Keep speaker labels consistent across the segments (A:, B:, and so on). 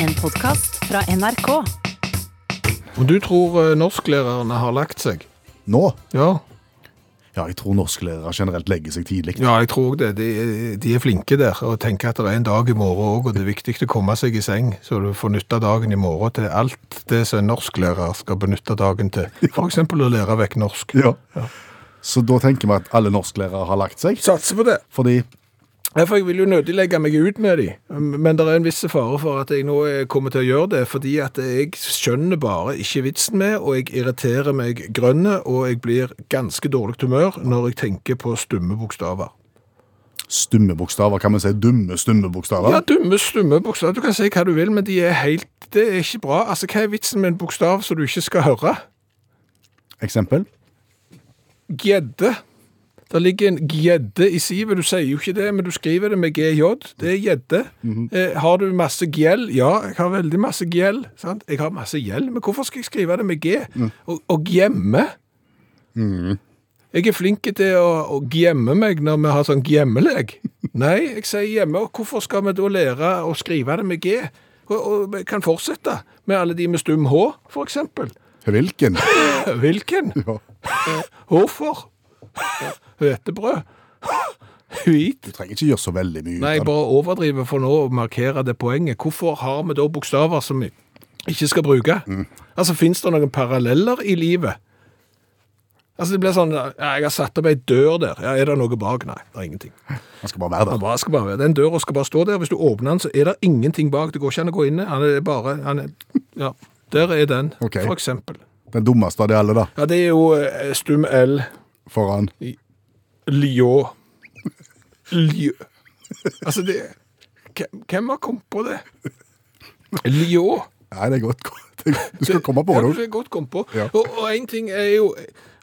A: En podkast fra NRK.
B: Om du tror eh, norsklærerne har lagt seg?
C: Nå?
B: Ja,
C: Ja, jeg tror norsklærere generelt legger seg tidlig.
B: ja jeg tror det. De, de er flinke der og tenker at det er en dag i morgen òg, og det er viktig å komme seg i seng, så du får nytte av dagen i morgen til alt det som en norsklærer skal benytte dagen til. F.eks. å lære vekk norsk.
C: Ja. Så da tenker vi at alle norsklærere har lagt seg,
B: Satser på det.
C: fordi
B: Ja, for Jeg vil jo nødig legge meg ut med de, men det er en viss fare for at jeg nå eh, kommer til å gjøre det, fordi at jeg skjønner bare ikke vitsen med, og jeg irriterer meg grønne, og jeg blir ganske dårlig til humør når jeg tenker på stumme bokstaver.
C: stumme bokstaver, kan vi si dumme stumme bokstaver?
B: Ja, dumme, stumme bokstaver. Du kan si hva du vil, men de er helt Det er ikke bra. Altså, hva er vitsen med en bokstav som du ikke skal høre?
C: Eksempel?
B: Gjedde. Det ligger en gjedde i sivet. Du sier jo ikke det, men du skriver det med GJ. Det er gjedde. eh, har du masse gjeld? Ja, jeg har veldig masse gjeld. Sant? Jeg har masse gjeld, men hvorfor skal jeg skrive det med G? Og, og gjemme. Jeg er flink til å, å gjemme meg når vi har sånn gjemmeleg. Nei, jeg sier hjemme, og hvorfor skal vi da lære å skrive det med G? Og, og vi kan fortsette med alle de med stum H, for eksempel.
C: Hvilken?
B: Hvilken?
C: Ja.
B: Hvorfor? Hvetebrød?
C: Du
B: Hvit?
C: trenger ikke gjøre så veldig mye ut
B: Nei, jeg
C: av det.
B: bare overdriver for nå å markere det poenget. Hvorfor har vi da bokstaver som vi ikke skal bruke?
C: Mm.
B: Altså, finnes det noen paralleller i livet? Altså, det blir sånn, ja, jeg har satt opp ei dør der. Ja, er det noe bak? Nei, det er ingenting.
C: Man skal bare være
B: Han
C: der.
B: bare skal bare, den døra skal bare stå der. Hvis du åpner den, så er det ingenting bak. Det går ikke an å gå inn. Han er bare, han er, ja, der er den,
C: Ok.
B: for eksempel.
C: Den dummeste av de alle, da.
B: Ja, det er jo eh, stum L.
C: Foran.
B: Ljå. Ljå. Altså, det hvem- Hvem har kommet på det? Ljå.
C: Nei, det er godt. Det er godt. Du skal komme på det
B: Ja,
C: òg.
B: det er godt kommet på.
C: Ja.
B: Og, og en ting er jo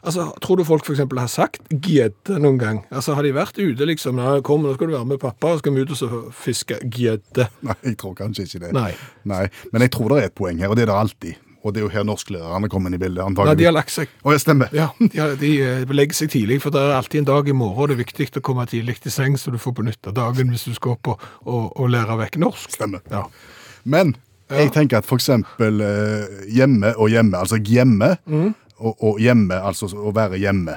B: altså, Tror du folk f.eks. har sagt gjedde noen gang? Altså, Har de vært ute, liksom? Nei, 'Kom, nå skal du være med pappa, og skal vi ut og så fiske gjedde'.
C: Nei, jeg tror kanskje ikke det.
B: Nei.
C: Nei. Men jeg tror det er et poeng her, og det er det alltid. Og det er jo her norsklærerne kommer inn i bildet,
B: Nei, de har
C: antagelig.
B: lagt seg.
C: Å, ja, stemmer.
B: Ja, de, har- de eh, legger seg tidlig, for det er alltid en dag i morgen, og det er viktig å komme tidlig til seng, så du får benytte dagen hvis du skal opp og, og, og lære vekk norsk.
C: Stemmer.
B: Ja.
C: Men jeg tenker at for eksempel eh, hjemme og hjemme, altså hjemme og, og hjemme, altså å være hjemme.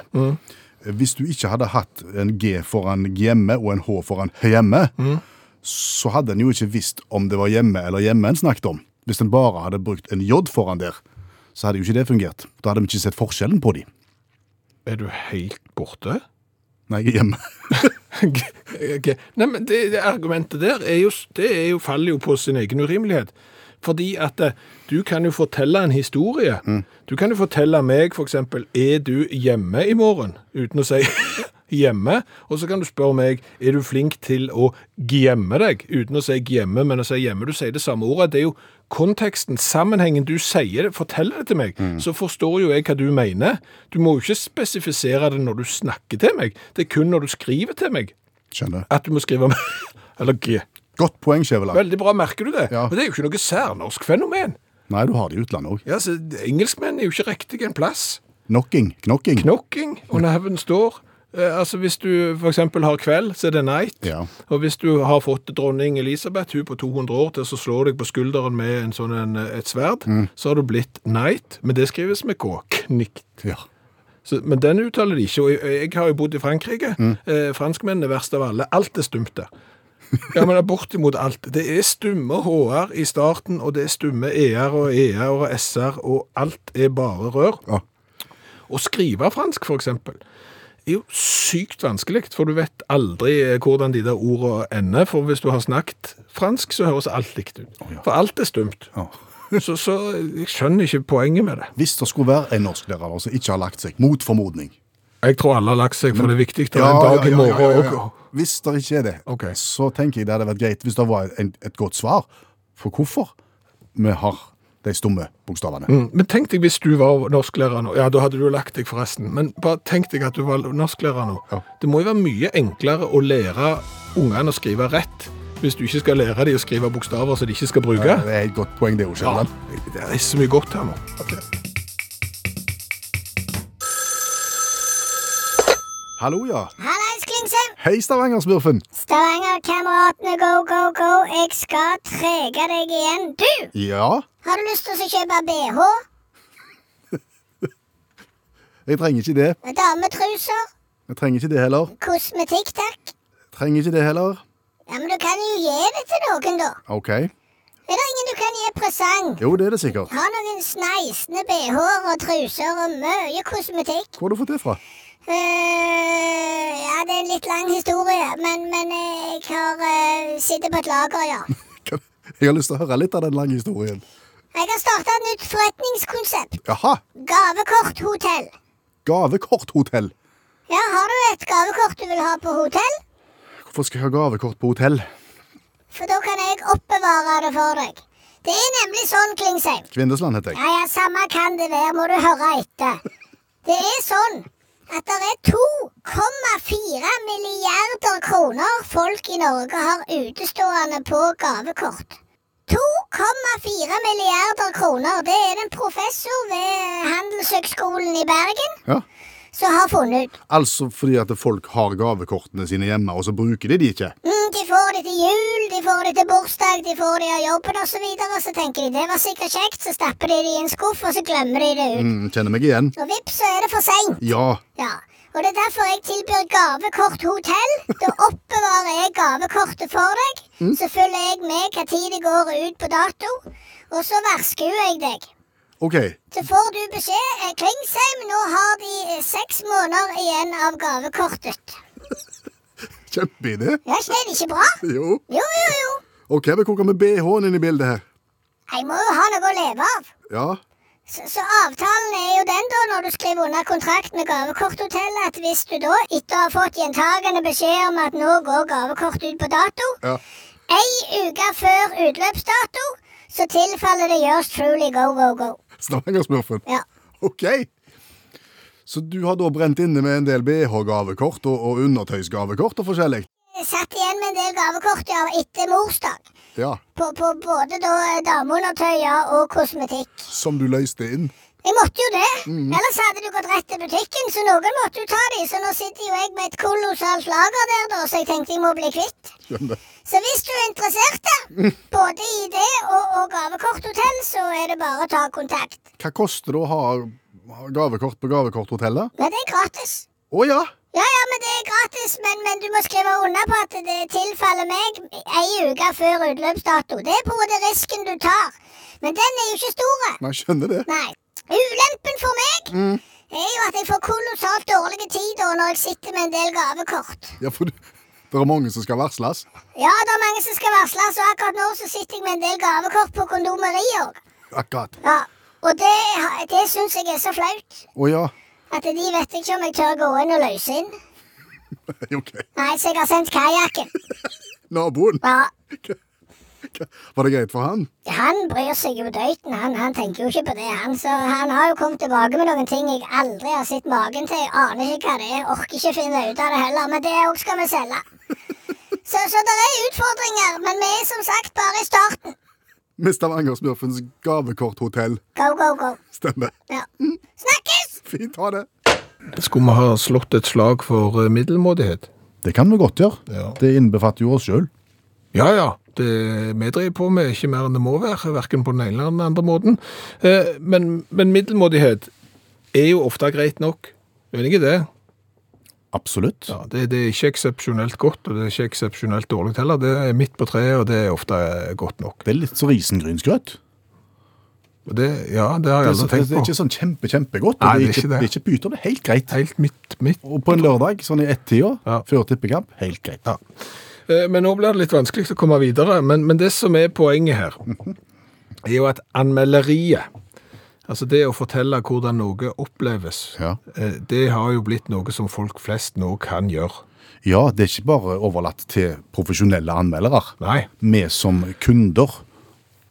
C: Hvis du ikke hadde hatt en G foran hjemme og en H foran hjemme, så hadde en jo ikke visst om det var hjemme eller hjemme en snakket om. Hvis en bare hadde brukt en J foran der, så hadde jo ikke det fungert. Da hadde vi ikke sett forskjellen på de.
B: Er du helt borte?
C: Nei, jeg er hjemme.
B: Ok. Nei, men det, det argumentet der er jo, det er jo, faller jo på sin egen urimelighet. Fordi at eh, du kan jo fortelle en historie. Du kan jo fortelle meg for eksempel, er du hjemme i morgen? Uten å si hjemme. Og så kan du spørre meg, er du flink til å gjemme deg? Uten å si gjemme, men å si hjemme. Du sier det samme ordet. Det er jo konteksten, sammenhengen du sier det, forteller det til meg. Så forstår jo jeg hva du mener. Du må jo ikke spesifisere det når du snakker til meg. Det er kun når du skriver til meg
C: Skjønner.
B: at du må skrive med Eller G.
C: Godt poeng, Skjæveland.
B: Veldig bra, merker du det?
C: Ja.
B: Og det er jo ikke noe særnorsk fenomen.
C: Nei, du har det i utlandet òg.
B: Ja, så Engelskmenn er jo ikke riktig en plass.
C: Knocking. Knocking.
B: Knocking og neven står. Eh, altså Hvis du f.eks. har kveld, så er det night.
C: Ja.
B: Og hvis du har fått dronning Elisabeth, hun på 200 år, til å slå deg på skulderen med en sånn en, et sverd, så har du blitt night. Men det skrives med K. Knikt.
C: Ja.
B: Så, men den uttaler de ikke. Og jeg, jeg har jo bodd i Frankrike.
C: Mm.
B: Eh, franskmennene er verst av alle. Alt er stumt der. Ja, men det er bortimot alt. Det er stumme HR i starten, og det er stumme ER og ER og SR, og alt er bare rør.
C: Ja.
B: Å skrive fransk, for eksempel, er jo sykt vanskelig, for du vet aldri eh, hvordan de der ordene ender, for hvis du har snakket fransk, så høres alt likt ut. For alt er stumt.
C: Ja.
B: Så, så jeg skjønner ikke poenget med det.
C: Hvis det skulle være en norsklærer som ikke har lagt seg, mot formodning
B: Jeg tror alle har lagt seg, for det er viktig. Det er en dag i morgen
C: ja,
B: òg.
C: ja, ja. Hvis det ikke er det,
B: Ok.
C: så tenker jeg det hadde vært greit hvis det var en, et godt svar på hvorfor vi har de stumme bokstavene.
B: Mm, Men tenk deg hvis du var norsklærer nå. Ja, da hadde du jo lagt deg forresten. Men bare tenk deg at du var norsklærer nå.
C: Ja.
B: Det må jo være mye enklere å lære ungene å skrive rett, hvis du ikke skal lære dem å skrive bokstaver som de ikke skal bruke.
C: Det er et godt poeng, det òg,
B: Ja,
C: Skjæveland.
B: det er så mye godt her nå.
C: Hallo, ja.
D: Hallais, Klingsheim!
C: Hei, Stavanger-smurfen!
D: Stavanger-kameratene go, go, go. Jeg skal trege deg igjen. Du,
C: Ja,
D: har du lyst til å kjøpe BH?
C: jeg trenger ikke det.
D: Dametruser?
C: Jeg trenger ikke det heller.
D: Kosmetikk, takk.
C: Trenger ikke det heller.
D: Ja, Men du kan jo gi det til noen, da.
C: OK.
D: Er det ingen du kan gi presang?
C: Jo, det er det sikkert.
D: Har noen sneisende BH-er og truser og mye kosmetikk.
C: Hvor har du fått det fra?
D: Eh, ja, det er en litt lang historie, men, men eh, jeg har uh, sitter på et lager, ja.
C: Kan- Jeg har lyst til å høre litt av den lange historien.
D: Jeg har starta et nytt forretningskonsept.
C: Jaha!
D: Gavekorthotell.
C: Gavekorthotell.
D: Ja, har du et gavekort du vil ha på hotell?
C: Hvorfor skal jeg ha gavekort på hotell?
D: For da kan jeg oppbevare det for deg. Det er nemlig sånn, Klingsheim.
C: Kvindesland heter jeg.
D: Ja, ja, samme kan det være, må du høre etter. Det er sånn at det er 2,4 milliarder kroner folk i Norge har utestående på gavekort. 2,4 milliarder kroner, det er det en professor ved Handelshøgskolen i Bergen
C: Ja.
D: som har funnet ut.
C: Altså fordi at folk har gavekortene sine hjemme, og så bruker de de ikke.
D: Mm, de får det til jul, de får det til bursdag, de får det av jobben osv. Så, videre, så tenker de det var sikkert kjekt, så stapper de det i en skuff, og så glemmer de det ut.
C: Mm, kjenner meg igjen.
D: Og vips, så er det for seint.
C: Ja.
D: Ja. Og det er derfor jeg tilbyr gavekort hotell. Da oppbevarer jeg gavekortet for deg. Så følger jeg med hva tid det går ut på dato, og så varskuer jeg deg.
C: OK.
D: Så får du beskjed. eh, Klingsheim, nå har de eh, seks måneder igjen av gavekortet.
C: Kjempeidé.
D: Ja, er det ikke bra?
C: Jo.
D: Jo, jo, jo.
C: OK, men hvor kommer BH-en inn i bildet her?
D: Jeg må jo ha noe å leve av.
C: Ja.
D: Så, så avtalen er jo den, da, når du skriver under kontrakt med gavekorthotellet, at hvis du da, etter å ha fått gjentagende beskjed om at nå går gavekortet ut på dato,
C: ja.
D: ei uke før utløpsdato, så tilfaller det yours truly go, go, go.
C: Stavanger-smurfen.
D: Ja.
C: OK. Så du har da brent inne med en del BH-gavekort og, og undertøysgavekort og forskjellig?
D: Jeg satt igjen med en del gavekort ja, etter morsdag.
C: Ja.
D: På, på både da dameundertøyer og kosmetikk.
C: Som du løste inn?
D: Jeg måtte jo det, ellers hadde du gått rett til butikken, så noen måtte jo ta de, så nå sitter jo jeg med et kolossalt lager der, da, så jeg tenkte jeg må bli kvitt.
C: Skjønner.
D: Så hvis du er interessert, da, både i det og, og gavekorthotell, så er det bare å ta kontakt.
C: Hva koster det å ha ha gavekort på gavekorthotellet?
D: Men det er gratis.
C: Å ja!
D: Ja, ja, men det er gratis, men, men du må skrive under på at det tilfaller meg ei uke før utløpsdato. Det er på en måte risken du tar, men den er jo ikke store.
C: Nei, jeg skjønner det.
D: Nei. Ulempen for meg er jo at jeg får kolossalt dårlige tider når jeg sitter med en del gavekort.
C: Ja, for du, det er mange som skal varsles.
D: Ja, det er mange som skal varsles, og akkurat nå så sitter jeg med en del gavekort på kondomerier.
C: Akkurat.
D: Ja, og det, ha- det syns jeg er så flaut.
C: Å ja.
D: At de vet ikke om jeg tør gå inn og løse inn.
C: OK.
D: Nei, så jeg har sendt kajakken.
C: Naboen.
D: Ja,
C: Hva- Var det greit for han?
D: han bryr seg jo døyten. Han, han tenker jo ikke på det, han. Så han har jo kommet tilbake med noen ting jeg aldri har sett magen til. Jeg aner ikke hva det er. Orker ikke finne ut av det heller. Men det òg skal vi selge. Så, så det er utfordringer, men vi er som sagt bare i starten.
C: Med Stavanger-smurfens gavekorthotell.
D: Go, go, go.
C: Stemmer.
D: Ja. Snakkes!
C: Fint, ha det.
B: Skulle vi ha slått et slag for eh, middelmådighet?
C: Det kan vi godt gjøre.
B: Ja.
C: Det innbefatter jo oss sjøl.
B: Ja, ja. Det vi driver på med, er ikke mer enn det må være, verken på den ene eller den andre måten. Eh, Men, men middelmådighet er jo ofte greit nok. Enig i det?
C: Absolutt.
B: Ja, det, det er ikke eksepsjonelt godt, og det er ikke eksepsjonelt dårlig heller. Det er midt på treet, og det er ofte eh, godt nok.
C: Det er litt så risengrynsgrøt.
B: Og det, ja, det har jeg
C: Det er,
B: aldri
C: så, det
B: tenkt
C: er
B: på.
C: ikke sånn kjempe, kjempegodt. og
B: Nei, det
C: det
B: er ikke det.
C: Det er ikke pyton, det er helt greit.
B: Helt midt, midt.
C: Og på en lørdag, sånn i ett-tida,
B: Ja.
C: før tippekamp, helt greit.
B: Ja. Eh, Men nå blir det litt vanskelig å komme videre. Men, men det som er poenget her, er jo at anmelderiet, altså det å fortelle hvordan noe oppleves,
C: Ja.
B: eh, det har jo blitt noe som folk flest nå kan gjøre.
C: ja, det er ikke bare overlatt til profesjonelle anmeldere.
B: Nei.
C: Vi som kunder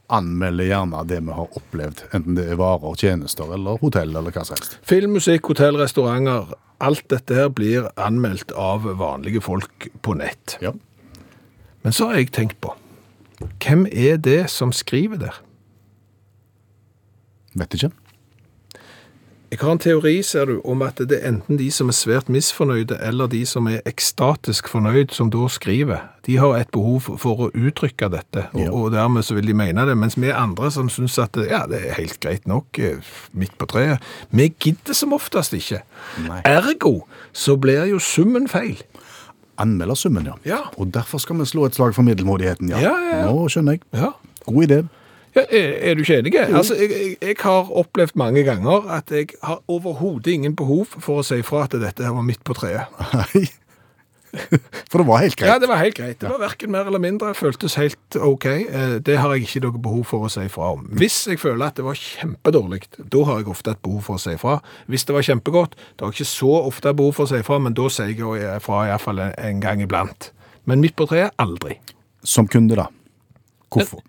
C: anmelder gjerne det vi har opplevd, enten det er varer, tjenester eller hotell eller hva som helst.
B: Film, musikk, hotell, restauranter, alt dette her blir anmeldt av vanlige folk på nett.
C: Ja.
B: Men så har jeg tenkt på, hvem er det som skriver der?
C: Vet ikke.
B: Jeg har en teori, ser du, om at det er enten de som er svært misfornøyde, eller de som er ekstatisk fornøyd, som da skriver. De har et behov for å uttrykke dette, og,
E: Ja.
B: og dermed så vil de mene det. Mens vi andre som syns at ja, det er helt greit nok, eh, midt på treet, vi gidder som oftest ikke.
E: Nei.
B: Ergo så blir jo summen feil.
E: Anmeldersummen, ja.
B: Ja.
E: Og derfor skal vi slå et slag for middelmådigheten, ja.
B: Ja, ja, ja.
E: Nå skjønner jeg.
B: Ja.
E: God idé.
B: Ja, er, er du ikke enig? Altså, jeg, jeg, jeg har opplevd mange ganger at jeg har overhodet ingen behov for å si ifra at dette her var midt på treet.
E: Nei. For det var helt greit.
B: Ja, det var helt greit. Det var hverken mer eller mindre. Føltes helt OK. Eh, Det har jeg ikke noe behov for å si fra om. Hvis jeg føler at det var kjempedårlig, da har jeg ofte et behov for å si fra. Hvis det var kjempegodt, da har jeg ikke så ofte behov for å si fra, men da sier jeg jo fra iallfall en gang iblant. Men midt på treet aldri.
E: Som kunde, da. Hvorfor?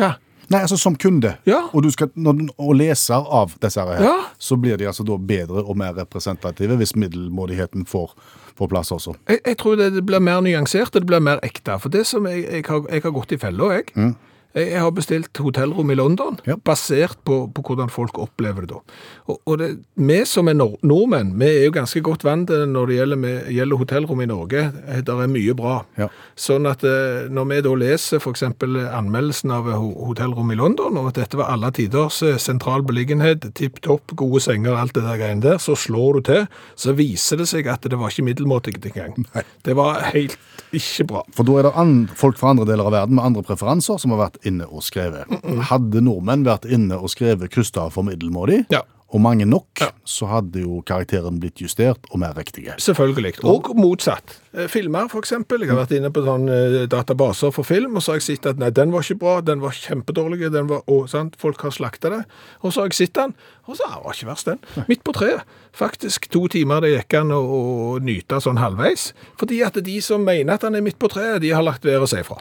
B: Hva?
E: Nei, altså som kunde.
B: Ja.
E: Og, du skal, når, du- og leser av disse her,
B: Ja.
E: så blir de altså da bedre og mer representative hvis middelmådigheten får, får plass også.
B: Jeg, jeg tror det, det blir mer nyansert, og det blir mer ekte. For det som jeg, jeg, har, jeg har gått i fella, jeg. Jeg jeg har bestilt hotellrom i London,
E: Mm. Ja.
B: basert på, på hvordan folk opplever det da. Og, og det, vi som er nor nordmenn, vi er jo ganske godt vant til det når det gjelder, med, gjelder hotellrom i Norge. Eh, Der er mye bra.
E: Ja.
B: Sånn at eh, når vi da leser f.eks. anmeldelsen av ho- hotellrom i London, og at dette var alle tiders eh, sentral beliggenhet, tipp topp, gode senger, alt det der greiene der, så slår du til, så viser det seg at det var ikke middelmådig engang. Det var helt ikke bra.
E: For da er det an, folk fra andre deler av verden med andre preferanser som har vært inne og skrevet. Hadde nordmenn vært inne og skrevet kryssstav for middelmådig,
B: Ja.
E: og mange nok, så hadde jo karakteren blitt justert og mer riktige.
B: Selvfølgelig. Og Mm. motsatt. Eh, Filmer, for eksempel. Jeg har vært inne på sånne eh, databaser for film, og så har jeg sett at nei, den var ikke bra, den var kjempedårlig, den var, og, sant? folk har slakta det. Og så har jeg sett den, og så ah, var ikke verst den. Midt på treet. Faktisk to timer det gikk an å, å nyte sånn halvveis. Fordi at de som mener at han er midt på treet, de har lagt været seg fra.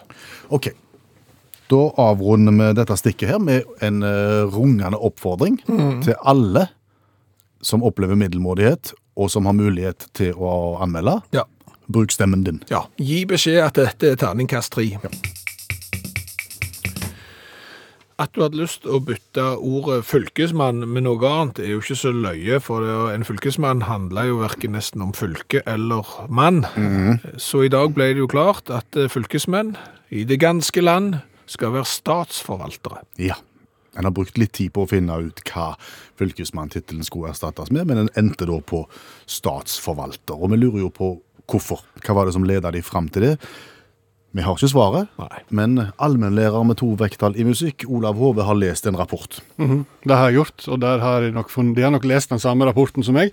E: Ok. Da avrunder vi dette stikket her med en eh, rungende oppfordring til alle som opplever middelmådighet, og som har mulighet til å anmelde.
B: Ja.
E: Bruk stemmen din.
B: Ja, gi beskjed at dette er terningkast 3. At du hadde lyst å bytte ordet fylkesmann med noe annet, er jo ikke så løye, for det, er- en fylkesmann handler jo hverken nesten om fylke eller mann. Så i dag ble det jo klart at eh, fylkesmenn i det ganske land skal være statsforvaltere.
E: Ja. En har brukt litt tid på å finne ut hva fylkesmanntittelen skulle erstattes med, men den endte da på statsforvalter. Og vi lurer jo på hvorfor. Hva var det som ledet de fram til det? Vi har ikke svaret,
B: Nei.
E: men allmennlærer med to vekttall i musikk, Olav Hove, har lest en rapport.
F: Det har jeg gjort, og der har jeg nok, funn- de har nok lest den samme rapporten som meg.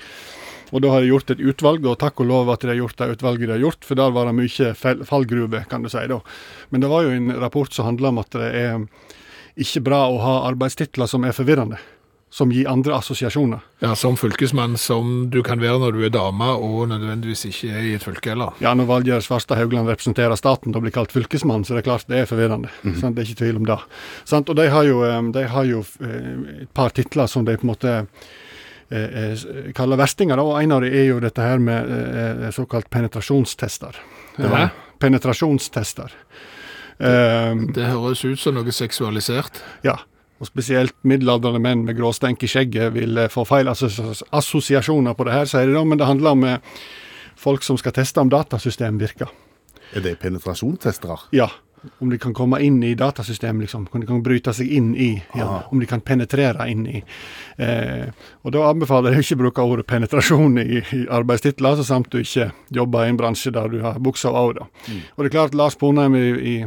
F: Og da har jeg gjort et utvalg, og takk og lov at de har gjort det utvalget de har gjort, for der var det mye fel- fallgruve, kan du si da. Men det var jo en rapport som handla om at det er ikke bra å ha arbeidstitler som er forvirrende. Som gir andre assosiasjoner.
B: Ja, som fylkesmann som du kan være når du er dame, og nødvendigvis ikke er i et fylke heller.
F: Ja, når Valgjerd Svarstad Haugland representerer staten og blir kalt fylkesmann, så det er klart det er forvirrende. sant? Det er ikke tvil om det. Sant? Og de har jo, eh, de har jo eh, et par titler som de på en måte eh, eh, s- kaller verstinger, da, og en av dem er jo dette her med eh, eh, såkalt penetrasjonstester.
B: Hæ?
F: Eh, Penetrasjonstester. Eh,
B: Det høres ut som noe seksualisert.
F: ja, og spesielt middelaldrende menn med gråstenk i skjegget vil eh, få feil assos- assosiasjoner på det her, sier de da, men det handler om eh, folk som skal teste om datasystem virker.
E: Er det penetrasjontestere?
F: Ja. Om de kan komme inn i datasystemet, liksom. Om de kan bryte seg inn i. Ja. Om de kan penetrere inn i. Eh, og da anbefaler jeg ikke å bruke ordet penetrasjon i, i arbeidstitler, så samt du ikke jobber i en bransje der du har buksa av. Da.
E: Mm.
F: Og det er klart, Lars Bonheim i, i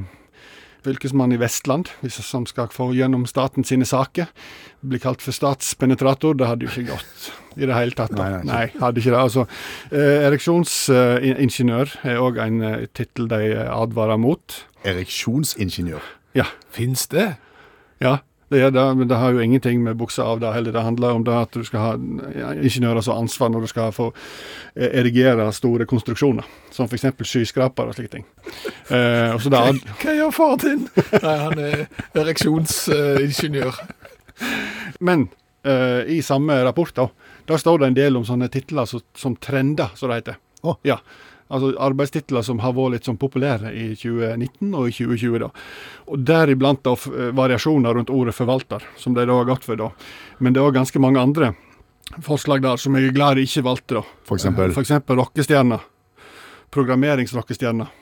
F: Fylkesmann i Vestland, hvis som skal få gjennom staten sine saker, blir kalt for statspenetrator. Det hadde jo ikke gått i det hele tatt. Da.
E: Nei, nei, ikke.
F: Nei, hadde ikke det. Altså, eh, Ereksjonsingeniør er òg en eh, tittel de eh, advarer mot.
E: Ereksjonsingeniør.
F: Ja,
B: Fins det?
F: ja. Det er det, men det har jo ingenting med buksa av det heller. Det handler om det at du skal ha ja, ingeniører som har ansvar når du skal få eh, erigere store konstruksjoner, som f.eks. skyskrapere og slike ting. Eh, og så det ad
B: Hva gjør faren din? Nei, han er ereksjonsingeniør.
F: Men eh, i samme rapport, da, der står det en del om sånne titler som, som trender, som det heter.
E: Å.
F: Ja. Altså arbeidstitler som har vært litt sånn populære i 2019 og i 2020. da. Og Deriblant da, f- eh, variasjoner rundt ordet forvalter, som de da har gått for. da. Men det er òg ganske mange andre forslag der som jeg er glad de ikke valgte. da.
C: For eksempel?
F: Eh, For eksempel rockestjerner. Programmeringsrockestjerner.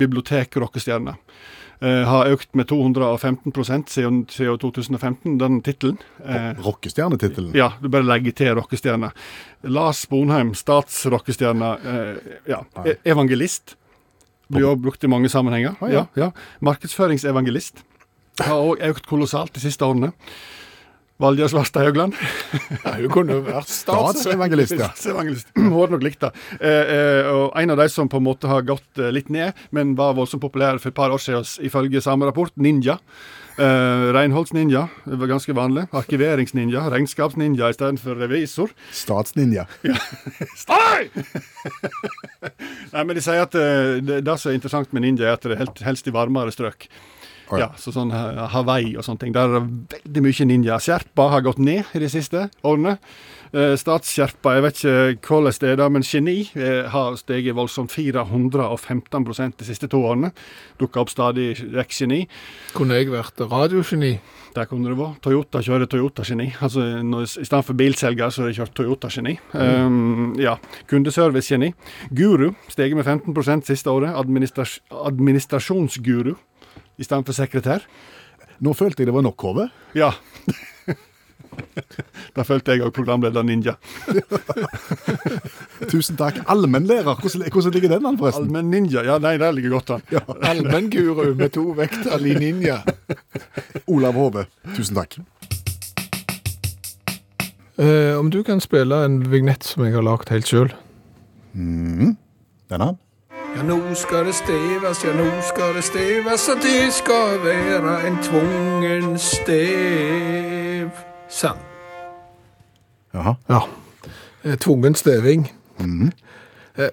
F: Bibliotek-rockestjerner. Eh, har økt med 215 siden, siden 2015, den tittelen. Eh,
C: Rockestjernetittelen.
F: ja, du bare legger til rockestjerne. Lars Bonheim, statsrockestjerne. Eh, ja. E- Evangelist. Blir også brukt i mange sammenhenger. ja. Ja, Markedsføringsevangelist. Har òg økt kolossalt de siste årene. Valgerd Svarstad Haugland.
B: Ja, hun kunne jo vært stats...
C: Statsevangelist, ja.
F: Evangelist. Hun hadde nok likt det. Eh, eh, og en av de som på en måte har gått eh, litt ned, men var voldsomt populær for et par år siden, s- ifølge samme rapport, ninja. Eh, Renholdsninja, det var ganske vanlig. Arkiveringsninja, regnskapsninja istedenfor revisor.
C: Statsninja.
F: Stei! Nei, men de sier at eh, det, det som er interessant med ninja, er at det er helt, helst i varmere strøk.
C: Å ja.
F: Ja, så sånn eh, Hawaii og sånne ting. Der er det veldig mye ninja. Sherpa har gått ned i de siste årene. Eh, Statssherpa, jeg vet ikke hvordan det er da, men geni eh, har steget voldsomt 415 de siste to årene. Dukka opp stadig vekk geni.
B: Kunne jeg vært radiogeni?
F: Der kunne det være. Toyota kjører Toyota-geni. Altså, når, I stedet for bilselger, så har de kjørt Toyota-geni. Um, ja. Kundeservice-geni. Guru steget med 15 siste året. Administras administrasjonsguru i stedet for sekretær.
C: Nå følte jeg det var nok, Hove.
F: Ja. Da følte jeg òg programleder Ninja.
C: Tusen takk. Allmennlærer, hvordan, hvordan ligger den an, forresten?
F: Allmenn Ninja, ja nei, der ligger godt an.
B: Allmennguru med to vekter i ninja.
C: Olav Hove, tusen takk.
B: Eh, om du kan spille en vignett som jeg har lagd helt sjøl?
C: Denne?
B: Ja, nå skal det steves, ja, nå skal det steves, og det skal være en tvungen stev. Sann.
C: Jaha.
B: Ja. Eh, Tvungen steving. Eh,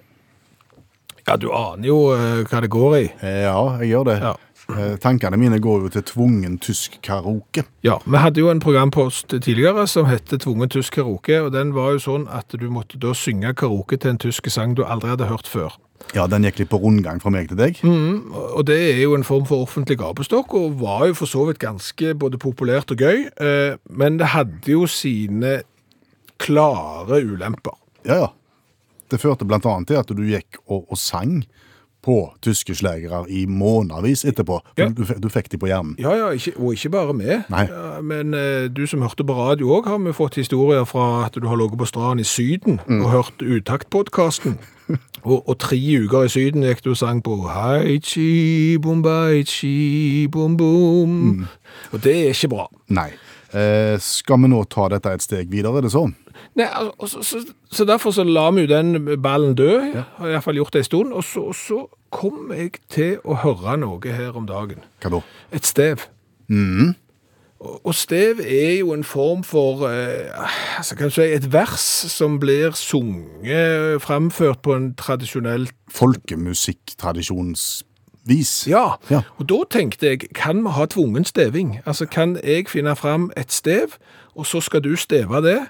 B: Ja, du aner jo eh, hva det går i.
C: Ja, jeg gjør det.
B: Ja.
C: Eh, Tankene mine går jo til tvungen tysk karaoke.
B: Ja, Vi hadde jo en programpost tidligere som het Tvungen tysk karaoke. og Den var jo sånn at du måtte da synge karaoke til en tysk sang du aldri hadde hørt før.
C: Ja, den gikk litt på rundgang fra meg til deg.
B: Og det er jo en form for offentlig gapestokk, og var jo for så vidt ganske både populært og gøy. eh, Men det hadde jo sine klare ulemper.
C: Ja, ja. Det førte blant annet til at du gikk og, og sang på tyske slagere i månedvis etterpå.
B: Ja.
C: Du, f- du fikk de på hjernen.
B: Ja, ja, ikke, og ikke bare vi.
C: Nei.
B: Ja, Men eh, du som hørte på radio òg, har vi fått historier fra at du har ligget på stranden i Syden og hørt Utaktpodkasten. og, og tre uker i Syden gikk du og sang på Haichi, bombaichi, bom, bom. Og det er ikke bra.
C: Nei. Eh, skal vi nå ta dette et steg videre, er det sånn?
B: Nei, al- og så, så, så derfor så la vi jo den ballen dø, har i hvert fall gjort det en stund, og så, og så kom jeg til å høre noe her om dagen.
C: Hva da?
B: Et stev. Og, og stev er jo en form for, eh, altså kan du si, et vers som blir sunget, eh, fremført på en tradisjonell
C: Folkemusikktradisjonsvis?
B: Ja.
C: Ja.
B: og da tenkte jeg, kan vi ha tvungen steving? Altså, kan jeg finne fram et stev, og så skal du steve det,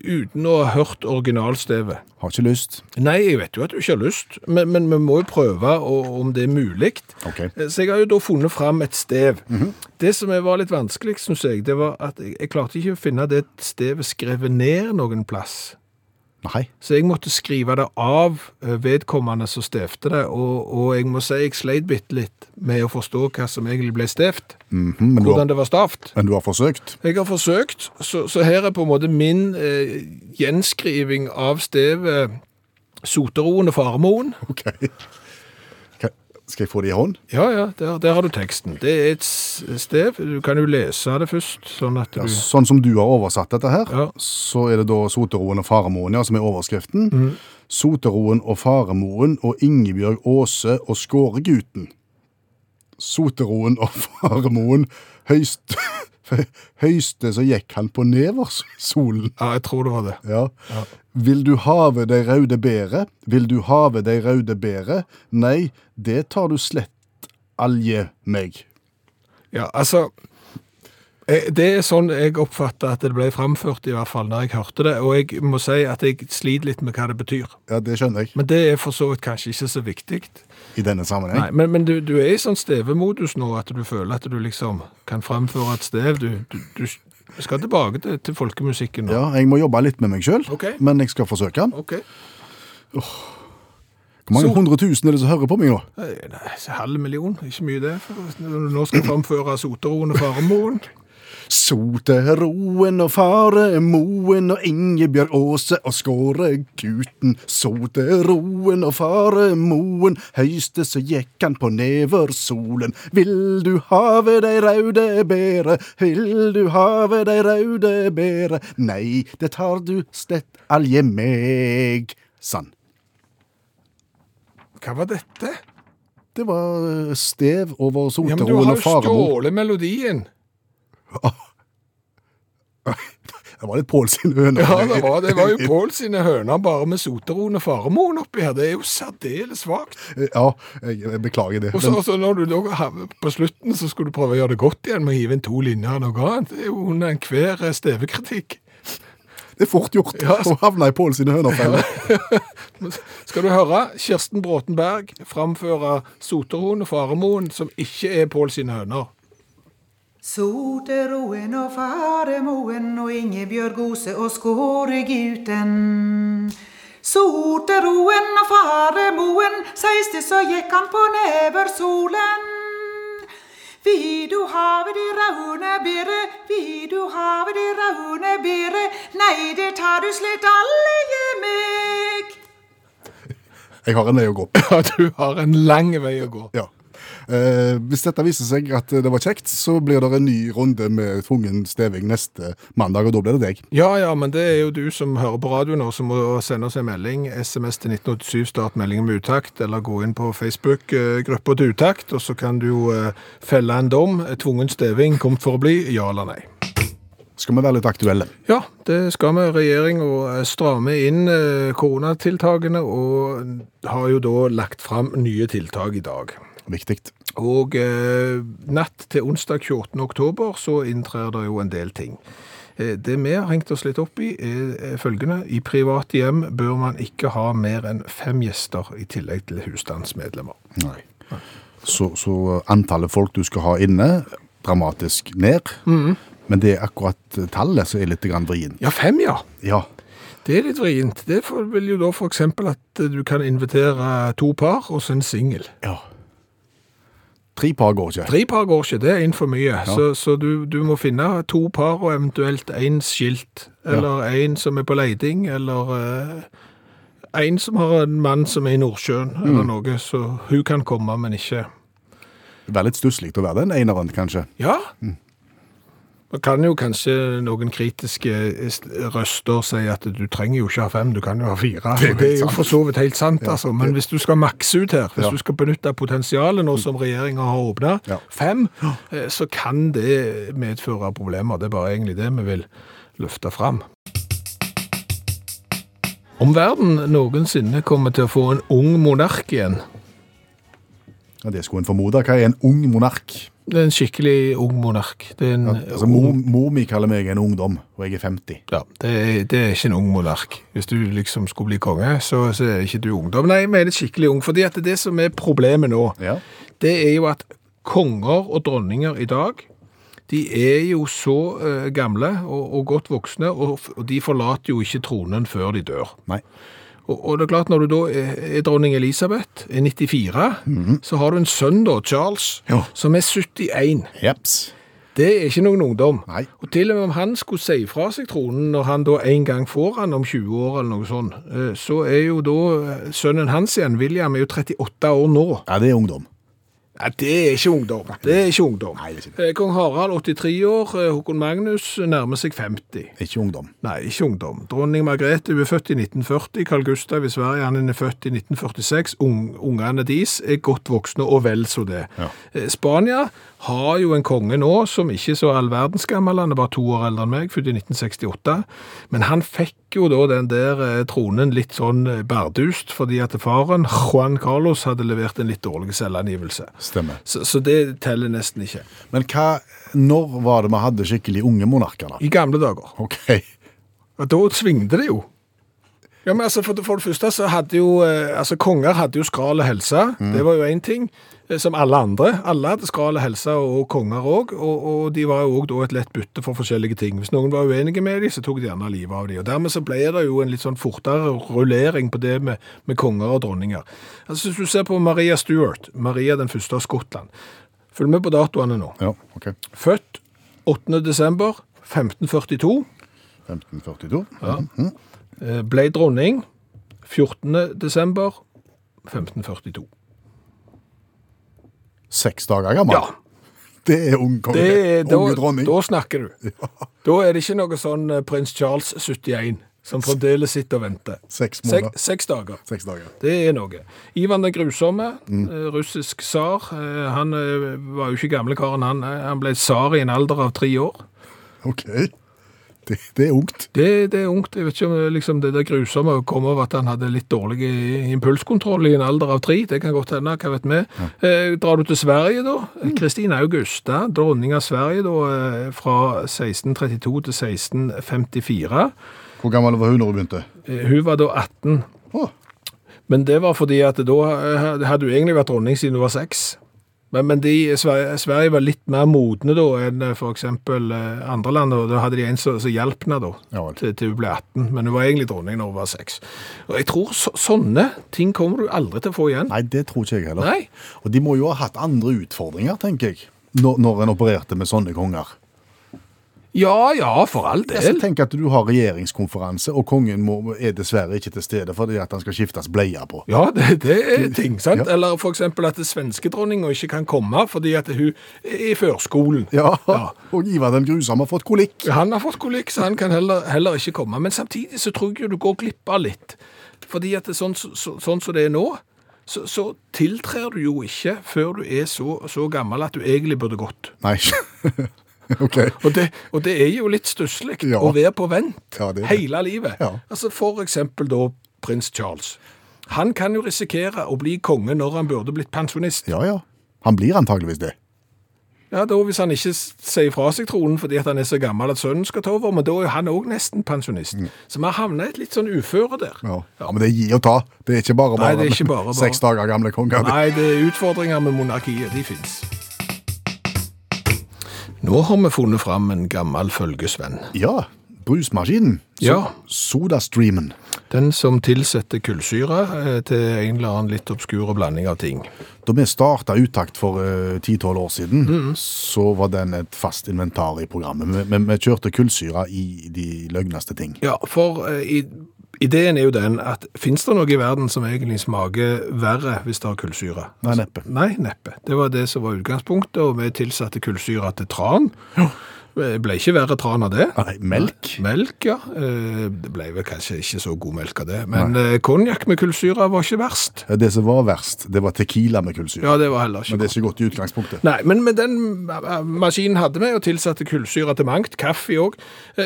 B: uten å ha hørt originalstevet?
C: Har ikke lyst.
B: Nei, jeg vet jo at du ikke har lyst, men, men vi må jo prøve å- om det er mulig. Eh,
C: Ok. Mhm.
B: Så jeg har jo da funnet fram et stev. Det som var litt vanskelig, syns jeg, det var at jeg, jeg klarte ikke å finne det stevet skrevet ned noen plass.
C: Nei.
B: Så jeg måtte skrive det av eh, vedkommende som stevte det, og, og jeg må si jeg sleit bitte litt med å forstå hva som egentlig ble stevt.
C: Mhm, Men du,
B: Hvordan
C: har,
B: det var stavt.
C: men du har forsøkt?
B: Jeg har forsøkt, så, så her er på en måte min eh, gjenskriving av stevet Soteroen og Farmoen.
C: Ok. Hva- Skal jeg få det i hånd?
B: Ja, ja, der, der har du teksten. Det er et s- stev. Du kan jo lese det først, sånn at du
C: Sånn som du har oversatt dette her,
B: Ja.
C: så er det da Soteroen og Faremoen, ja, som er overskriften.
B: Mhm.
C: Soteroen og Faremoen og Ingebjørg Aase og Skåreguten. Soteroen og Faremoen høyst, høyste så gikk han på nevers solen.
B: Ja, jeg tror det var det.
C: Ja. Vil du have de raude bære? Vil du have de raude bære? Nei, det tar du slett alje meg.
B: Ja, altså eh, Det er sånn jeg oppfatter at det ble framført, i hvert fall når jeg hørte det. Og jeg må si at jeg sliter litt med hva det betyr.
C: Ja, det skjønner jeg.
B: Men det er for så vidt kanskje ikke så viktig.
C: I denne sammenheng.
B: Nei, men, men du, du er i sånn stevemodus nå at du føler at du liksom kan framføre et stev. Du, du, du, Vi skal tilbake til, til folkemusikken nå.
C: Ja, jeg må jobbe litt med meg sjøl,
B: Ok.
C: men jeg skal forsøke den.
B: Ok.
C: Hvor mange
B: Så-
C: hundre tusen er det som hører på meg nå?
B: Eh, Nei, så halv million, ikke mye det. for når du Nå skal framføre soteroen og faremoren.
C: Soteroen og faremoen og Ingebjørg Aase og Skårekuten. Soteroen og faremoen, høyste så gikk han på neversolen. Vil du have de raude bære, vil du have de raude bære? Nei, det tar du slett alje meg. Sann.
B: Hva var dette?
C: Det var eh, stev over
B: Ja, men Du
C: soteroen
B: har jo
C: og faremor.
B: stjålet melodien.
C: Det var litt Pål sin høne.
B: Ja, det var, det var jo Pål sine høner bare med soteroen og faremoren oppi her. Det er jo særdeles svakt.
C: Ja, jeg jeg beklager det.
B: Og så-
C: men-
B: og så når du lå på slutten, så skulle du prøve å gjøre det godt igjen med å hive inn to linjer eller noe annet. Det er jo under enhver eh, stevekritikk.
C: Det er fort gjort
B: Ja, altså.
C: å havne i Pål sine hønerfeller.
B: Skal du høre Kirsten Bråten Berg framføre Soteroen og Faremoen, som ikke er Pål sine høner?
G: Soteroen og faremoen og Ingebjørg Ose og Skåreguten. Soteroen og faremoen, seis det så gikk han på neversolen. Vil du have de raune bere, vil du have de raune bere, nei det tar du slett alle meg.
C: Jeg har en vei å gå.
B: Ja, du har en lang vei å gå.
C: Ja. Eh, hvis dette viser seg at det var kjekt, så blir det en ny runde med tvungen steving neste mandag, og da blir det deg.
B: Ja, ja, men det er jo du som hører på radio nå, som må sende oss en melding. SMS til 1987, start meldingen med utakt, eller gå inn på Facebook-gruppa til utakt, og så kan du jo eh, felle en dom. eh, Tvungen steving, kom for å bli, ja eller nei.
C: Skal vi være litt aktuelle?
B: Ja, det skal vi. Regjeringa stramme inn eh, koronatiltakene, og har jo da lagt fram nye tiltak i dag.
C: Viktig.
B: Og eh, natt til onsdag 28. oktober så inntrer det jo en del ting. Eh, det vi har hengt oss litt opp i, er er følgende. I private hjem bør man ikke ha mer enn fem gjester i tillegg til husstandsmedlemmer.
C: Nei. Så, så antallet folk du skal ha inne, dramatisk ned.
B: Mm.
C: Men det er akkurat tallet som er litt grann vrient.
B: Ja, fem, ja!
C: Ja.
B: Det er litt vrient. Det for- vil jo da f.eks. at du kan invitere to par og så en singel.
C: ja. Tre par går ikke.
B: Tre par går ikke, det er inn for mye. Så, så du, du må finne to par og eventuelt én skilt. Eller én som er på leiding, eller én som har en mann som er i Nordsjøen, eller noe. Så hun kan komme, men ikke
C: Det er litt stusslig å være den eneren, kanskje.
B: Ja! Man kan jo kanskje noen kritiske st- røster si at du trenger jo ikke ha fem, du kan jo ha fire. Det er, det er jo for så vidt helt sant, altså. Men hvis du skal makse ut her, hvis
C: Ja.
B: du skal benytte potensialet nå som regjeringa har åpna,
C: Ja.
B: fem, eh, så kan det medføre problemer. Det er bare egentlig det vi vil løfte fram. Om verden noensinne kommer til å få en ung monark igjen,
C: Ja, det skulle en formode. Hva er en ung monark?
B: det er en skikkelig ung monark. Det er en
C: Altså, mor, mor mi kaller meg en ungdom, og jeg er 50.
B: Ja, det er, det er ikke en ung monark. Hvis du liksom skulle bli konge, så, så er ikke du ungdom. Nei, jeg mener skikkelig ung, fordi at det som er problemet nå,
C: Ja.
B: det er jo at konger og dronninger i dag, de er jo så eh, gamle og, og godt voksne, og, f- og de forlater jo ikke tronen før de dør.
C: Nei.
B: Og, og det er klart, når du da er, er dronning Elisabeth, er 94,
C: Mhm.
B: så har du en sønn da, Charles,
C: Ja.
B: som er 71.
C: Jeps.
B: Det er ikke noen ungdom.
C: Nei.
B: Og til og med om han skulle si fra seg tronen når han da en gang får han om 20 år eller noe sånt, eh, så er jo da eh, sønnen hans igjen, William, er jo 38 år nå.
C: Ja, det er ungdom.
B: Nei, det er ikke ungdom. Det er ikke ungdom.
C: Nei, det er ikke
B: Eh, Kong Harald 83 år, eh, Håkon Magnus nærmer seg 50.
C: Ikke ungdom.
B: Nei, ikke ungdom. Dronning Margrethe hun er født i 1940, Carl Gustav i Sverige han er født i 1946. Ung, ungene deres er godt voksne og vel så det.
C: Ja.
B: Eh, Spania har jo en konge nå som ikke er så all verdens gammel, han er bare to år eldre enn meg, født i 1968. Men han fikk jo da den der eh, tronen litt sånn eh, bardust, fordi at faren, Juan Carlos, hadde levert en litt dårlig selvangivelse.
C: Stemmer.
B: Så, så det teller nesten ikke.
C: Men hva, når var det vi hadde skikkelig unge monarker, da?
B: I gamle dager.
C: OK.
B: Og Da svingte det jo. Ja, men altså, for, for det første så hadde jo eh, altså, Konger hadde jo skral helse. Det var jo én ting. eh, Som alle andre. Alle hadde skral helse, og, og konger òg. Og, og de var jo òg da et lett bytte for forskjellige ting. Hvis noen var uenige med dem, så tok de gjerne livet av dem. Og dermed så ble det jo en litt sånn fortere rullering på det med, med konger og dronninger. Altså, Hvis du ser på Maria Stuart, Maria den første av Skottland Følg med på datoene nå.
C: Ja, ok.
B: Født 8. desember 1542.
C: 1542.
B: Ja. Eh, Ble dronning 14. desember 1542.
C: Seks dager gammel.
B: Ja.
C: Det er ung konge.
B: Det er, da,
C: Unge dronning.
B: da snakker du. Da er det ikke noe sånn eh, prins Charles 71 som fremdeles sitter og venter.
C: Seks
B: Sek,
C: måneder.
B: seks dager.
C: Seks dager.
B: Det er noe. Ivan den grusomme,
C: Mm.
B: eh, russisk tsar, eh, han eh, var jo ikke gamle karen, han, Eh, han ble tsar i en alder av tre år.
C: Ok. Det, det er ungt.
B: Det, det er ungt. Jeg vet ikke om eh, liksom, det der grusomme kom over at han hadde litt dårlig i- impulskontroll i en alder av tre. Det kan godt hende, hva vet vi. Eh, drar du til Sverige, da? Kristina Augusta, dronning av Sverige da, eh, fra 1632 til 1654.
C: Hvor gammel var hun når hun begynte?
B: Eh, hun var da 18.
C: Å,
B: Men det var fordi at da eh, hadde hun egentlig vært dronning siden hun var seks. Men, men de, Sverige, Sverige var litt mer modne da enn eh, for eksempel eh, andre land, og da hadde de en som som hjalp henne da,
C: Ja vel.
B: til, til hun ble 18. Men hun var egentlig dronning når hun var seks. Og jeg tror så, sånne ting kommer du aldri til å få igjen.
C: Nei, det tror ikke jeg heller.
B: Nei.
C: Og de må jo ha hatt andre utfordringer, tenker jeg, når, når en opererte med sånne konger.
B: Ja, ja, for all
C: Altså,
B: del.
C: tenk at du har regjeringskonferanse, og kongen må, er dessverre ikke til stede fordi at han skal skiftes bleie på.
B: Ja, det, det er ting, sant?
C: Ja.
B: Eller for eksempel at det svenske dronninga ikke kan komme fordi at hun er i førskolen.
C: Ja, og Ivar den grusomme har fått kolikk.
B: Han har fått kolikk, så han kan heller, heller ikke komme. Men samtidig så tror jeg jo du går glipp av litt. Fordi at det er sånn så- så- sånn som det er nå, så, så tiltrer du jo ikke før du er så, så gammel at du egentlig burde gått.
C: Nei, ok.
B: Og det, og det er jo litt stusslig
C: Ja.
B: å være på vent
C: Ja, det er det.
B: hele livet.
C: Ja.
B: Altså For eksempel da prins Charles. Han kan jo risikere å bli konge når han burde blitt pensjonist.
C: Ja, ja. Han blir antageligvis det.
B: Ja, da Hvis han ikke s- sier fra seg tronen fordi at han er så gammel at sønnen skal ta over, men da er jo han òg nesten pensjonist. Så vi har havna i et litt sånn uføre der.
C: Mm. Ja. men det er gi og ta. Det er ikke
B: Nei,
C: bare bare.
B: det er ikke bare bare.
C: Seks dager gamle konger.
B: Nei, det er utfordringer med monarkiet. De fins. Nå har vi funnet fram en gammel følgesvenn.
C: Ja, brusmaskinen. So-
B: Ja.
C: Sodastreamen.
B: Den som tilsetter kullsyre eh, til en eller annen litt obskure blanding av ting.
C: Da vi starta Utakt for eh, 10-12 år siden,
B: Mm.
C: så var den et fast inventar i programmet. Men- Men vi kjørte kullsyra i de løgneste ting.
B: Ja, for eh, i, ideen er jo den at fins det noe i verden som egentlig smaker verre hvis det har kullsyre?
C: Nei, neppe.
B: Nei, neppe. Det var det som var utgangspunktet, og vi tilsatte kullsyre til tran. Det ble ikke verre tran av det.
C: Nei, melk?
B: Melk, ja. Eh, Det ble vel kanskje ikke så god melk av det, men eh, konjakk med kullsyre var ikke verst.
C: Det som var verst, det var tequila med kullsyre.
B: Ja, det var heller ikke
C: Men det
B: godt.
C: er ikke godt i utgangspunktet.
B: Nei, men med den eh, maskinen hadde vi, og tilsatte kullsyre til mangt, kaffe òg.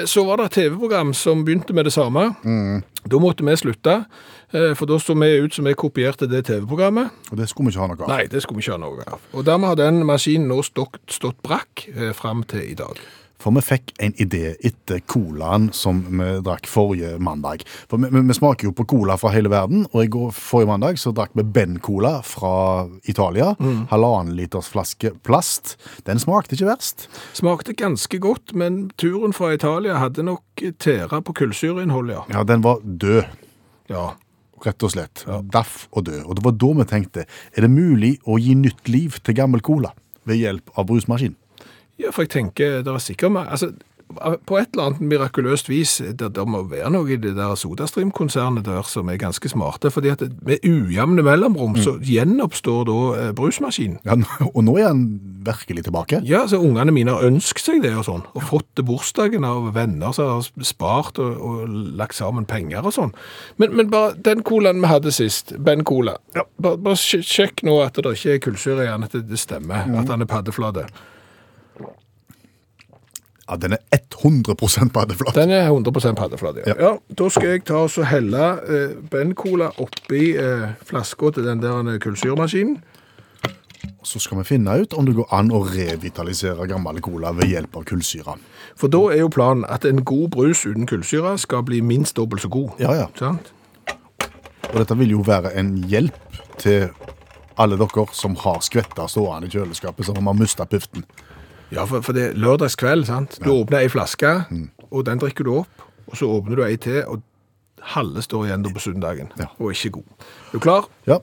B: Så var det et TV-program som begynte med det samme.
C: Mm.
B: Da måtte vi slutte, eh, for da så vi ut som vi kopierte det TV-programmet.
C: Og det skulle vi ikke ha noe av.
B: Nei, det skulle vi ikke ha noe av. Og dermed har den maskinen nå stått, stått brakk eh, fram til i dag.
C: For vi fikk en idé etter colaen som vi drakk forrige mandag. For vi, vi, vi smaker jo på cola fra hele verden, og i går, forrige mandag så drakk vi Ben Cola fra Italia. Halvannen liters flaske plast. Den smakte ikke verst.
B: Smakte ganske godt, men turen fra Italia hadde nok tæra på kullsyreinnholdet, ja.
C: Ja, den var død.
B: ja.
C: Rett og slett. Daff og død. Og det var da vi tenkte, er det mulig å gi nytt liv til gammel cola ved hjelp av brusmaskin?
B: Ja, for jeg tenker, det er sikkert mer Altså, på et eller annet mirakuløst vis, det, det må være noe i det der Sodastream-konsernet der som er ganske smarte, fordi at med ujevne mellomrom så gjenoppstår da eh, brusmaskinen.
C: Ja, og nå er den virkelig tilbake.
B: Ja, så ungene mine har ønsket seg det og sånn, og fått til bursdagen av venner som har spart og, og lagt sammen penger og sånn. Men, men bare den colaen vi hadde sist, Ben Cola, bare, bare sj- sjekk nå at det ikke er kullsyre i den, at det- det stemmer,
C: Mhm.
B: at han er paddeflate.
C: Ja, den er 100 paddeflat.
B: Den er 100 paddeflate, ja. ja. Da skal jeg ta og så helle eh, Ben Cola oppi eh, flaska til den der eh, kullsyremaskinen.
C: Så skal vi finne ut om det går an å revitalisere gammel cola ved hjelp av kullsyre.
B: For da er jo planen at en god brus uten kullsyre skal bli minst dobbelt så god.
C: Ja, ja.
B: Sant?
C: Og dette vil jo være en hjelp til alle dere som har skvetta stående i kjøleskapet, som har mista puften.
B: Ja, for, for det er lørdagskveld, sant? Du åpner ei flaske, og den drikker du opp, og så åpner du ei til, og halve står igjen da på søndagen,
C: Ja.
B: og er ikke god. Er du klar?
C: Ja.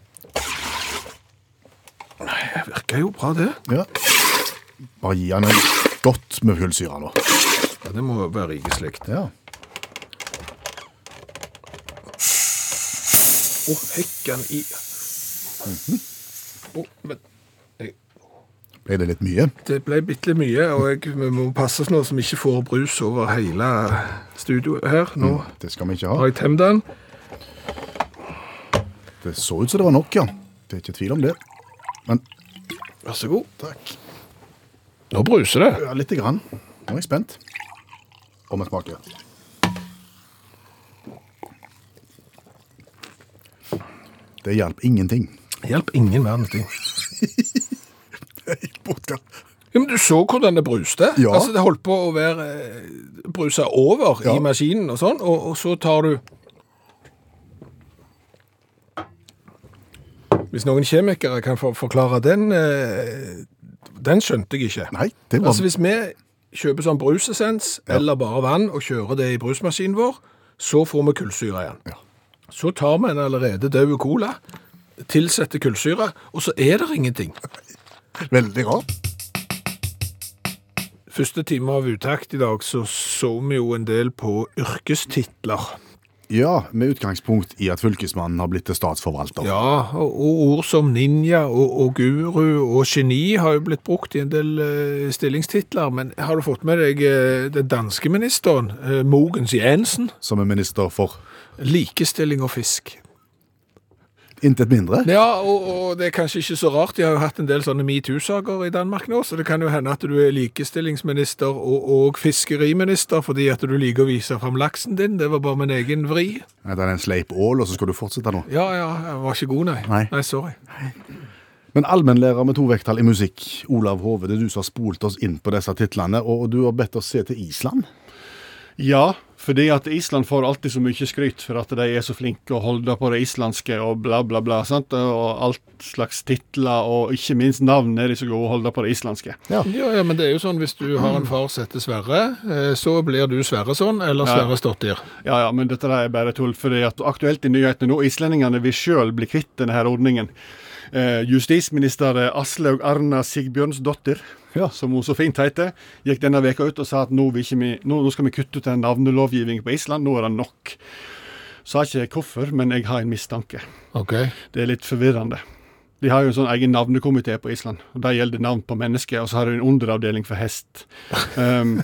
B: Det virker jo bra det.
C: ja. Bare gi han en godt med hullsyre nå.
B: Ja, det må være rikeslikt.
C: Ja.
B: Å, hekken i... Mhm. Å, men... jeg-
C: Ble det litt mye?
B: Det ble bitte litt mye, og jeg, vi må passe oss nå så vi ikke får brus over hele studioet her. Nå
C: Det skal vi ikke
B: har
C: ha.
B: jeg temt den.
C: Det så ut som det var nok, ja. Det er ikke tvil om det. Men
B: Vær så god.
C: takk.
B: Nå bruser det.
C: Ja, lite grann. Nå er jeg spent. Om det smaker. Det hjalp ingenting.
B: Hjelp ingen verdens ting. Ja, men du så hvordan det bruste.
C: Ja.
B: Altså, det holdt på å være eh, brusa over
C: Ja.
B: i maskinen og sånn, og, og så tar du Hvis noen kjemikere kan for forklare den eh, Den skjønte jeg ikke.
C: Nei, det var
B: Altså Hvis vi kjøper sånn brusessens eller bare vann og kjører det i brusmaskinen vår, så får vi kullsyre igjen.
C: Ja.
B: Så tar vi en allerede død cola, tilsetter kullsyre, og så er det ingenting.
C: veldig rart.
B: Første time av utakt i dag så så vi jo en del på yrkestitler.
C: Ja, med utgangspunkt i at fylkesmannen har blitt til statsforvalter.
B: Ja, og, og ord som ninja og, og guru og geni har jo blitt brukt i en del eh, stillingstitler, men har du fått med deg eh, den danske ministeren, eh, Mogens Jensen,
C: Som er minister for
B: likestilling og fisk?
C: intet mindre.
B: Ja, og, og det er kanskje ikke så rart. De har jo hatt en del sånne metoo-saker i Danmark nå, så det kan jo hende at du er likestillingsminister og, og fiskeriminister fordi at du liker å vise fram laksen din. Det var bare min egen vri.
C: Det er en sleip ål, og så skal du fortsette nå.
B: Ja, ja, jeg var ikke god, nei.
C: Nei.
B: sorry.
C: Men allmennlærer med to vekttall i musikk, Olav Hove, det er du som har spolt oss inn på disse titlene, og du har bedt oss se til Island.
F: Ja, fordi at Island får alltid så mye skryt for at de er så flinke og holder på det islandske og bla, bla, bla. sant? Og alt slags titler og ikke minst navn er de så gode å holde på det islandske.
B: Ja, ja, men det er jo sånn hvis du har en far som heter Sverre, eh, så blir du Sverre sånn, eller
F: Ja.
B: Sverre Stottir.
F: Ja, ja, men dette der er bare tull. fordi at aktuelt i nyhetene nå, islendingene vil sjøl bli kvitt denne her ordningen. Eh, justisminister Aslaug Arna Sigbjørnsdottir,
C: Ja.
F: som hun så fint heter, gikk denne veka ut og sa at nå, vil ikke vi, nå, nå skal vi kutte ut den navnelovgivningen på Island, nå er det nok. Sa ikke hvorfor, men jeg har en mistanke.
B: Ok.
F: Det er litt forvirrende. De har jo en sånn egen navnekomité på Island. og Der gjelder navn på mennesker, og så har de en underavdeling for hest. Um,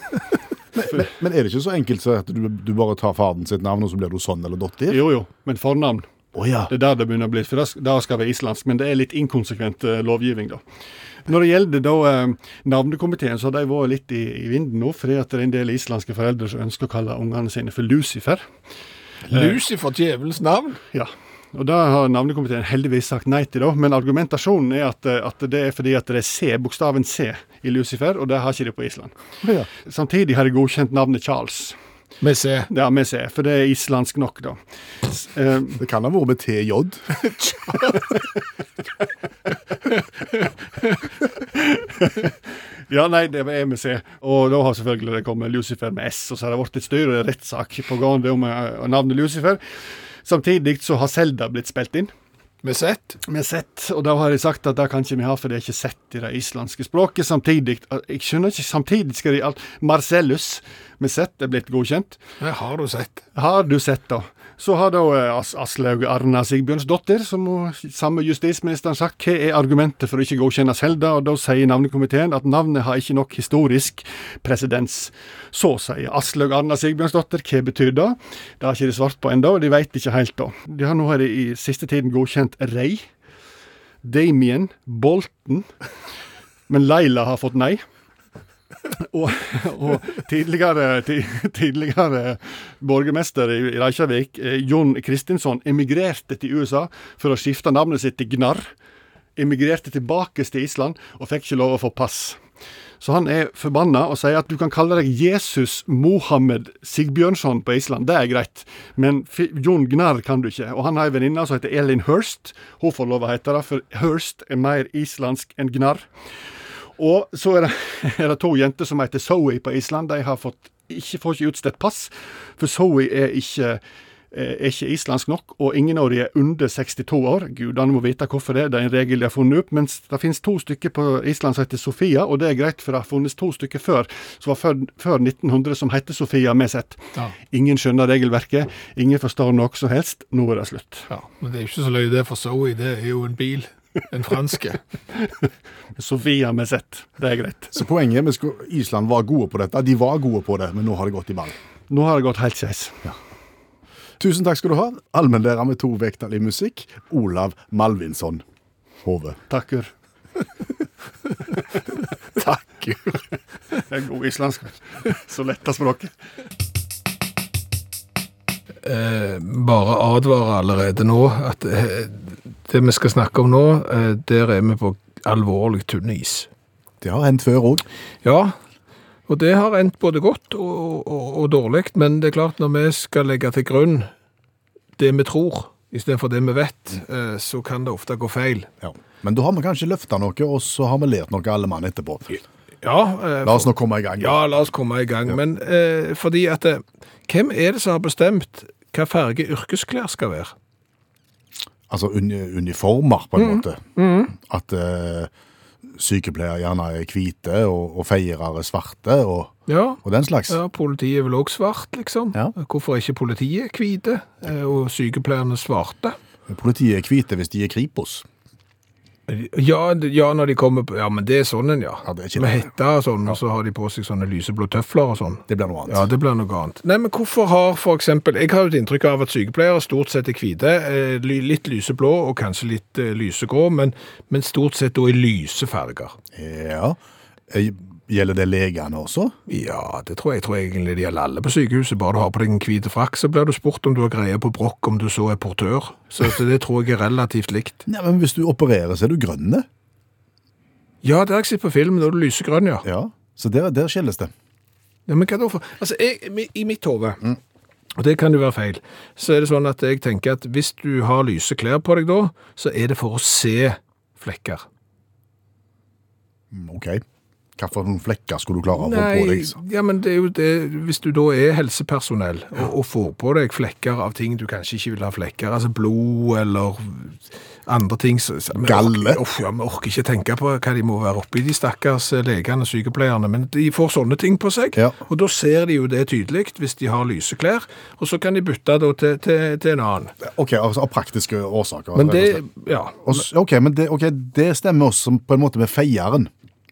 C: Men, men er det ikke så enkelt så at du, du bare tar faren sitt navn, og så blir du sånn eller dotter?
F: jo jo, men fornavn.
C: Å ja.
F: Det er der det begynner å bli, for det sk- det skal være islandsk. Men det er litt inkonsekvent eh, lovgivning, da. Når det gjelder da eh, navnekomiteen, så har de vært litt i, i vinden nå, fordi at det er en del islandske foreldre som ønsker å kalle ungene sine for Lucifer.
B: Lucifer djevelens navn?
F: Ja, og det har navnekomiteen heldigvis sagt nei til, da. Men argumentasjonen er at, eh, at det er fordi at det er C, bokstaven C i Lucifer, og det har ikke de på Island.
C: Ja.
F: Samtidig har de godkjent navnet Charles.
B: Vi ser.
F: Det har vi C, for det er islandsk nok, da. S- eh,
C: Det kan ha vært med TJ.
F: ja, nei, det er med C. Og da har selvfølgelig det kommet Lucifer med S, og så har det blitt et styr og en rettssak på gående om eh, navnet Lucifer. Samtidig så har Selda blitt spilt inn.
B: Vi sett.
F: med sett, og da har de sagt at det kan ikke vi ha, for det er ikke sett i det islandske språket. Samtidig eh, jeg skjønner ikke, samtidig skal de alt Marcellus med sett er blitt godkjent.
B: Det har du sett.
F: Har du sett, da? Så har da eh, As Aslaug Arna Sigbjørnsdottir, som hun- samme justisministeren sagt, hva er argumentet for å ikke godkjenne Selda? Og da sier navnekomiteen at navnet har ikke nok historisk presedens. Så sier Aslaug Arna Sigbjørnsdottir, hva betyr det? Det har ikke de svart på ennå, og de vet ikke helt, da. De har nå her i siste tiden godkjent Rei, Damien, Bolten, men Leila har fått nei. Og, og tidligere, ti- tidligere borgermester i i Reykjavik, eh, Jon Kristinsson, emigrerte til USA for å skifte navnet sitt til Gnarr. Emigrerte tilbake til Island og fikk ikke lov å få pass. Så han er forbanna og sier at du kan kalle deg Jesus Mohammed Sigbjørnsson på Island, det er greit, men Fi- Jon Gnarr kan du ikke. Og han har ei venninne som heter Elin Hirst, hun får lov å hete det, for Hirst er mer islandsk enn Gnarr. Og så er det, er det to jenter som heter Zoe på Island. De har fått, ikke, får ikke utstedt pass, for Zoe er ikke eh, er ikke islandsk nok, og ingen av de er under 62 år. Gudene må vite hvorfor det, er. det er en regel de har funnet opp. Mens det finnes to stykker på Island som heter Sofia, og det er greit, for det har funnes to stykker før, som var før, før 1900, som heter Sofia med sett.
B: Ja.
F: Ingen skjønner regelverket, ingen forstår noe som helst. Nå er det slutt.
B: Ja, Men det er jo ikke så løye det, for Zoe det er jo en bil. En franske.
F: Sofia med sett, det er greit.
C: Så poenget er at Island var gode på dette. De var gode på det, men nå har det gått i ball.
F: Nå har det gått helt skeis.
C: Tusen takk skal du ha, allmennlærer med to vekttall i musikk, Olav Malvinsson Hove.
F: Takk, Ur.
C: Takk.
F: Det er god islandsk. altså. Så letta språket.
B: Eh, bare advare allerede nå at eh, det vi skal snakke om nå, eh, der er vi på alvorlig tynn is.
C: Det har hendt før òg.
B: Ja, og det har endt både godt og, og, og dårlig, men det er klart når vi skal legge til grunn det vi tror, istedenfor det vi vet, eh, så kan det ofte gå feil.
C: Ja. Men da har vi kanskje løfta noe, og så har vi lært noe alle mann etterpå.
B: Ja, eh,
C: La oss nå komme i gang.
B: ja, la oss komme i gang. Men eh, fordi at eh, Hvem er det som har bestemt hva farge yrkesklær skal være?
C: Altså uni uniformer, på en
B: Mm.
C: måte. At eh, sykepleiere gjerne er hvite, og, og feiere er svarte, og,
B: Ja,
C: og den slags.
B: ja Politiet er vel òg svart, liksom.
C: Ja.
B: Hvorfor er ikke politiet hvite, eh, og sykepleierne svarte?
C: Politiet er hvite hvis de er Kripos.
B: Ja, d- ja, når de kommer på Ja, men det er sånn en, ja.
C: Ja, det er ikke
B: Med
C: det.
B: hetta og sånn, og så har de på seg sånne lyseblå tøfler og sånn.
C: Det blir noe annet.
B: Ja, det blir noe annet. Nei, men hvorfor har for eksempel Jeg har jo et inntrykk av at sykepleiere stort sett er hvite, eh, ly- litt lyseblå og kanskje litt eh, lysegrå, men, men stort sett da i lyse farger.
C: Ja. Eh, Gjelder det legene også?
B: Ja, det tror jeg. Jeg tror egentlig det gjelder alle på sykehuset. Bare du har på deg en hvit frakk, så blir du spurt om du har greie på brokk, om du så er portør. Så, så det tror jeg er relativt likt.
C: Nei, men hvis du opererer, så er du grønne.
B: Ja, det har jeg sett på film, da er du lysegrønn, ja.
C: Ja. Så der, der skilles det.
B: Ja, men hva da for? Altså, jeg, mi- i mitt hode, og det kan jo være feil, så er det sånn at jeg tenker at hvis du har lyse klær på deg da, så er det for å se flekker.
C: Mm, OK. Hvilke flekker skulle du klare å få på deg? så?
B: ja, men det er jo det, hvis du da er helsepersonell og, og får på deg flekker av ting du kanskje ikke vil ha flekker, altså blod eller andre ting. Så, så, men
C: Galle.
B: orker- Uff, ja, vi orker ikke tenke på hva de må være oppi, de stakkars eh, legene og sykepleierne, men de får sånne ting på seg.
C: Ja.
B: Og da ser de jo det tydelig hvis de har lyse klær, og så kan de bytte da til, til, til en annen.
C: OK, altså av praktiske årsaker.
B: Men
C: rett og
B: det,
C: slett.
B: ja,
C: Og s- OK, men det, ok, det stemmer oss som på en måte med feieren.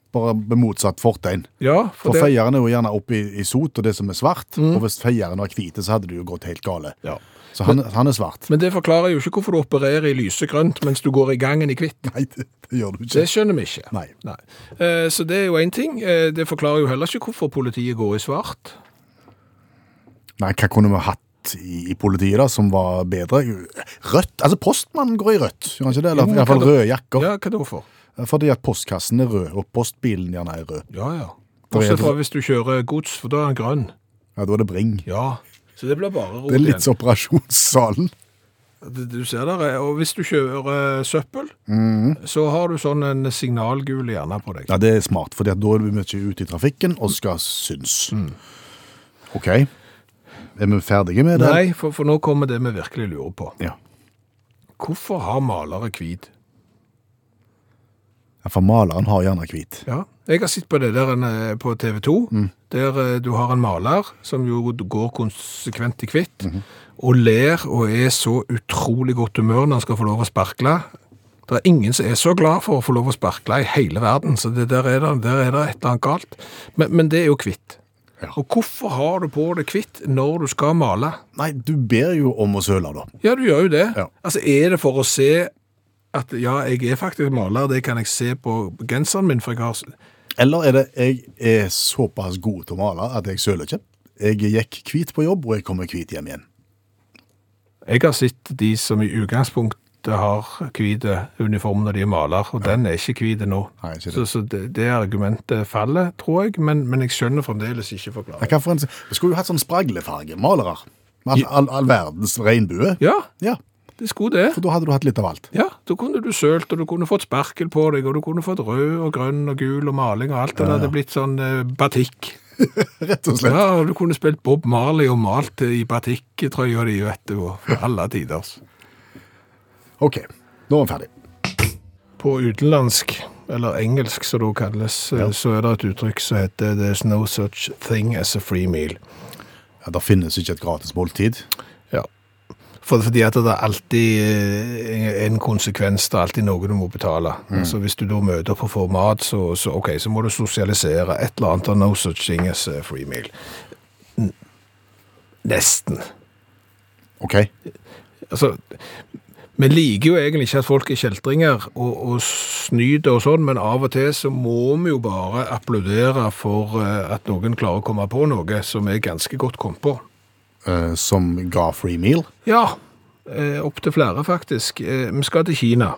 C: Bare med motsatt fortegn.
B: ja for
C: For
B: det, Mm.
C: feieren er jo gjerne oppe i, i sot, og det som er svart. Og hvis feieren var hvite, så hadde det jo gått helt gale.
B: Ja.
C: Så han, han er svart.
B: men det forklarer jo ikke hvorfor du opererer i lysegrønt mens du går i gangen i kvitt.
C: Nei, det, det gjør du ikke.
B: Det skjønner vi ikke.
C: Nei.
B: Eh, Så det er jo én ting. Eh, Det forklarer jo heller ikke hvorfor politiet går i svart.
C: Nei, hva kunne vi hatt i, i politiet da, som var bedre? Rødt, altså postmannen går i rødt, gjør han ikke det? Eller
B: Jo,
C: i hvert fall
B: kan du-
C: røde jakker.
B: Ja, hva da for?
C: Fordi at postkassen er rød, og postbilen gjerne er rød.
B: Ja, ja.
C: Da er det-
B: Bortsett fra hvis du kjører gods, for da er den grønn.
C: Ja, da er det bring.
B: Ja. Så det blir bare rot
C: Det er
B: igjen.
C: litt sånn- som operasjonssalen.
B: Du ser der, eh, og hvis du kjører eh, søppel, så har du sånn en signalgul hjerne på deg.
C: Mhm. Ja, det er smart, for da er vi mye ute i trafikken og skal synes.
B: Mm.
C: Ok. Er vi ferdige med det?
B: Nei, for, for nå kommer det vi virkelig lurer på.
C: Ja.
B: Hvorfor har malere hvit?
C: Ja, For maleren har gjerne hvit.
B: Ja, jeg har sett på det der eh, på TV 2, der eh, du har en maler som jo går konsekvent i kvitt, og ler og er så utrolig godt humør når han skal få lov å sparkle. Det er ingen som er så glad for å få lov å sparkle i hele verden, så det der er det, der er det et eller annet galt. Men, men det er jo kvitt. Og hvorfor har du på det kvitt når du skal male?
C: Nei, du ber jo om å søle da.
B: Ja, du gjør jo det.
C: Ja.
B: Altså, er det for å se at ja, jeg er faktisk maler, det kan jeg se på genseren min, for jeg har...
C: Eller er det jeg er såpass god til å male at jeg søler ikke? Jeg gikk hvit på jobb, og jeg kommer hvit hjem igjen.
B: Jeg har sett de som i utgangspunkt jenter har hvite uniform når de er maler, og den er ikke hvit nå.
C: Nei, ikke det.
B: Så, så det, det argumentet faller, tror jeg, men, men jeg skjønner fremdeles ikke forklaringen.
C: Hva for en, vi skulle jo hatt sånn spraglefarge, malere. All, all, all verdens regnbue.
B: Ja,
C: Ja,
B: det skulle det.
C: for da hadde du hatt litt av alt.
B: Ja, da kunne du sølt, og du kunne fått sparkel på deg, og du kunne fått rød og grønn og gul og maling og alt. Det hadde blitt sånn eh, batikk.
C: Rett og slett.
B: Ja, og du kunne spilt Bob Marley og malt eh, i batikk-trøya di, vet du, og for alle tiders.
C: OK, nå er vi ferdig.
B: På utenlandsk, eller engelsk som det også kalles, eh, så er det et uttrykk som heter «There's no such thing as a free meal».
C: Ja, Det finnes ikke et gratis måltid.
B: Ja. For, fordi at det er alltid eh, en konsekvens, det er alltid noe du må betale. Så hvis du da møter på for mat, så, så, ok, så må du sosialisere et eller annet, og no such thing as a free meal. N- Nesten.
C: OK?
B: Altså, vi liker jo egentlig ikke at folk er kjeltringer og, og snyter og sånn, men av og til så må vi jo bare applaudere for eh, at noen klarer å komme på noe som er ganske godt kommet på.
C: Eh, som ga free meal.
B: Ja, eh, opp til flere faktisk. Eh, vi skal til Kina.